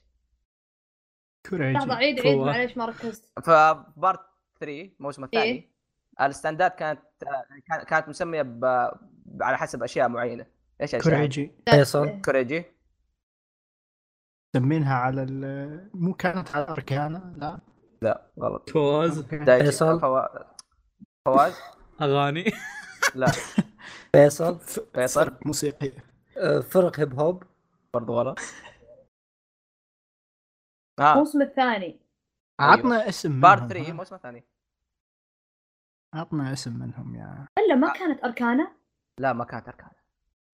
لحظه كوريجي عيد عيد هو. معليش ما ركزت فبارت 3 الموسم الثاني إيه. الستاندات كانت آه، كان- كانت مسميه ب... على حسب اشياء معينه ايش الشعر؟ كوريجي فيصل كوريجي مسمينها على ال- مو كانت على اركانا لا لا غلط فواز دايتشي. فيصل. فوا- فواز اغاني لا فيصل فيصل موسيقية آه، فرق هيب هوب برضو غلط آه، ها الموسم الثاني أيوه. أيوه. عطنا اسم منهم بارت 3 ها؟ موسم إيه، ثاني عطنا اسم منهم يا الا آه. ما كانت اركانا لا ما كانت اركان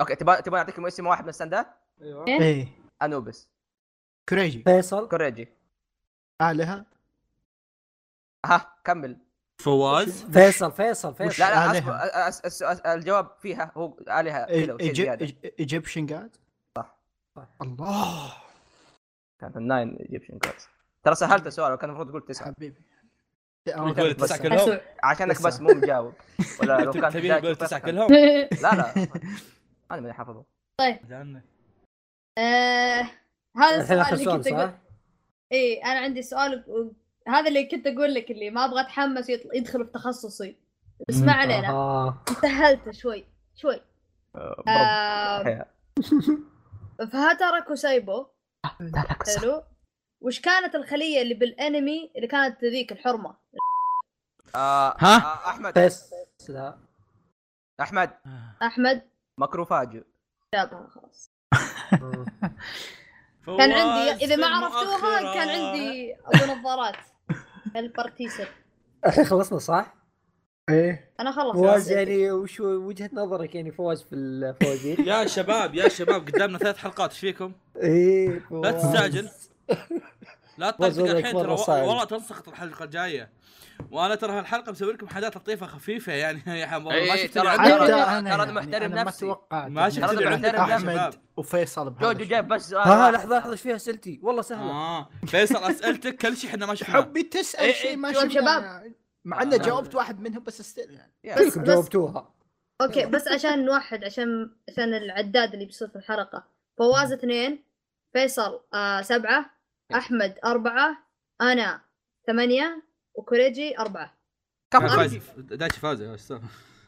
اوكي تبغى تبغى اعطيكم اسم واحد من الستاندات إيه؟ ايه انوبس كريجي فيصل كوريجي عليها ها كمل فواز فيصل فيصل وش- فيصل لا لا عليها. أصبر، أ- أ- أس- أس- الجواب فيها هو عليها كذا وشيء زياده ايجيبشن جاد صح. الله كان الناين ايجيبشن كويس ترى سهلت السؤال وكان المفروض تقول تسعه حبيبي نقول بس- تسعة كلهم اسوء عشانك بس تسعة. مو مجاوب ولا لو كان تبي نقول بداية تسعة كان- كلهم لا لا انا ماني حافظه آه، هذا السؤال اللي الحين اخر سؤال كنت اقول صح؟ اي انا عندي سؤال و- هذا اللي كنت اقول لك اللي ما ابغى اتحمس يطل- يدخل في تخصصي بس ما علينا آه. سهلت شوي شوي آه، أحياء. فهاتارا كوسايبو حلو وش كانت الخليه اللي بالانمي اللي كانت ذيك الحرمه آه، ها؟ طيب. آه، احمد بس لا احمد احمد ماكروفاج جابها خلاص مم. كان عندي اذا ما عرفتوها كان عندي ابو نظارات البارتيسر الحين خلصنا صح؟ ايه انا خلص فواز يعني وش وجهه نظرك يعني فواز في الفوازير؟ يا شباب يا شباب قدامنا ثلاث حلقات ايش فيكم؟ ايه لا فواز. تستعجل لا والله تطقطق والله الحين مرة ترى صعب. والله تنسخط الحلقه الجايه وانا ترى هالحلقه مسوي لكم حاجات لطيفه خفيفه يعني يا حمار ما إيه، شفت ترى اللي عندي- عندك؟ ترى يعني أنا محترم أنا نفسي. ما توقعت ما شفت ترى أنا اللي عندك محترم يا نفسي. شباب احمد وفيصل بهذا جوجو الشيء. جايب بس سؤال ها واحد. لحظه لحظه ايش فيها اسئلتي؟ والله سهله اه فيصل اسئلتك كل شيء احنا ما شفناه حبي إيه، تسال شيء ما إيه، شفناه شباب. مع اني آه. جاوبت واحد منهم بس استل يعني يا. بس- كلكم جاوبتوها اوكي بس عشان نوحد عشان عشان العداد اللي بيصير في الحلقه فواز اثنين فيصل آه سبعه احمد اربعه انا ثمانيه وكوريجي اربعه كفو. آه، فايز داشي فاز يا أستاذ.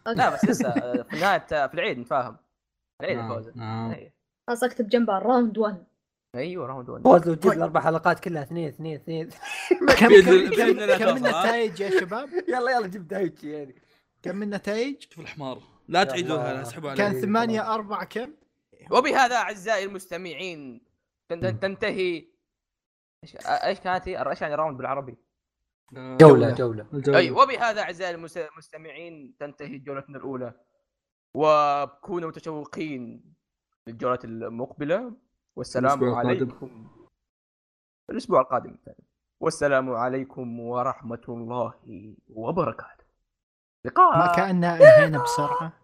لا بس لسه آه، في نهايه آه، في العيد نفاهم العيد آه، الفوز آه. أيوة. خلاص اكتب جنبها راوند 1 ايوه راوند 1 فواز لو طيب. تجيب الاربع حلقات كلها اثنين اثنين اثنين كم بإذن- كم- بإذن الله كم توصل، ها؟ النتائج يا شباب يلا يلا جيب دايتشي يعني كم النتائج شوف الحمار لا تعيدوها الله. اسحبوا علي إيه، كان ثمانية خلاص. أربعة كم وبهذا اعزائي المستمعين تن- تن- تنتهي ايش آه، إيش كانت هي؟ ايش يعني راوند بالعربي؟ آه. جوله جوله اي وبهذا اعزائي المس- المستمعين تنتهي جولتنا الاولى وكونوا متشوقين للجوله المقبله والسلام الأسبوع القادم. عليكم الاسبوع القادم بالتالي. والسلام عليكم ورحمه الله وبركاته لقاء آه. ما كأننا انهينا بسرعة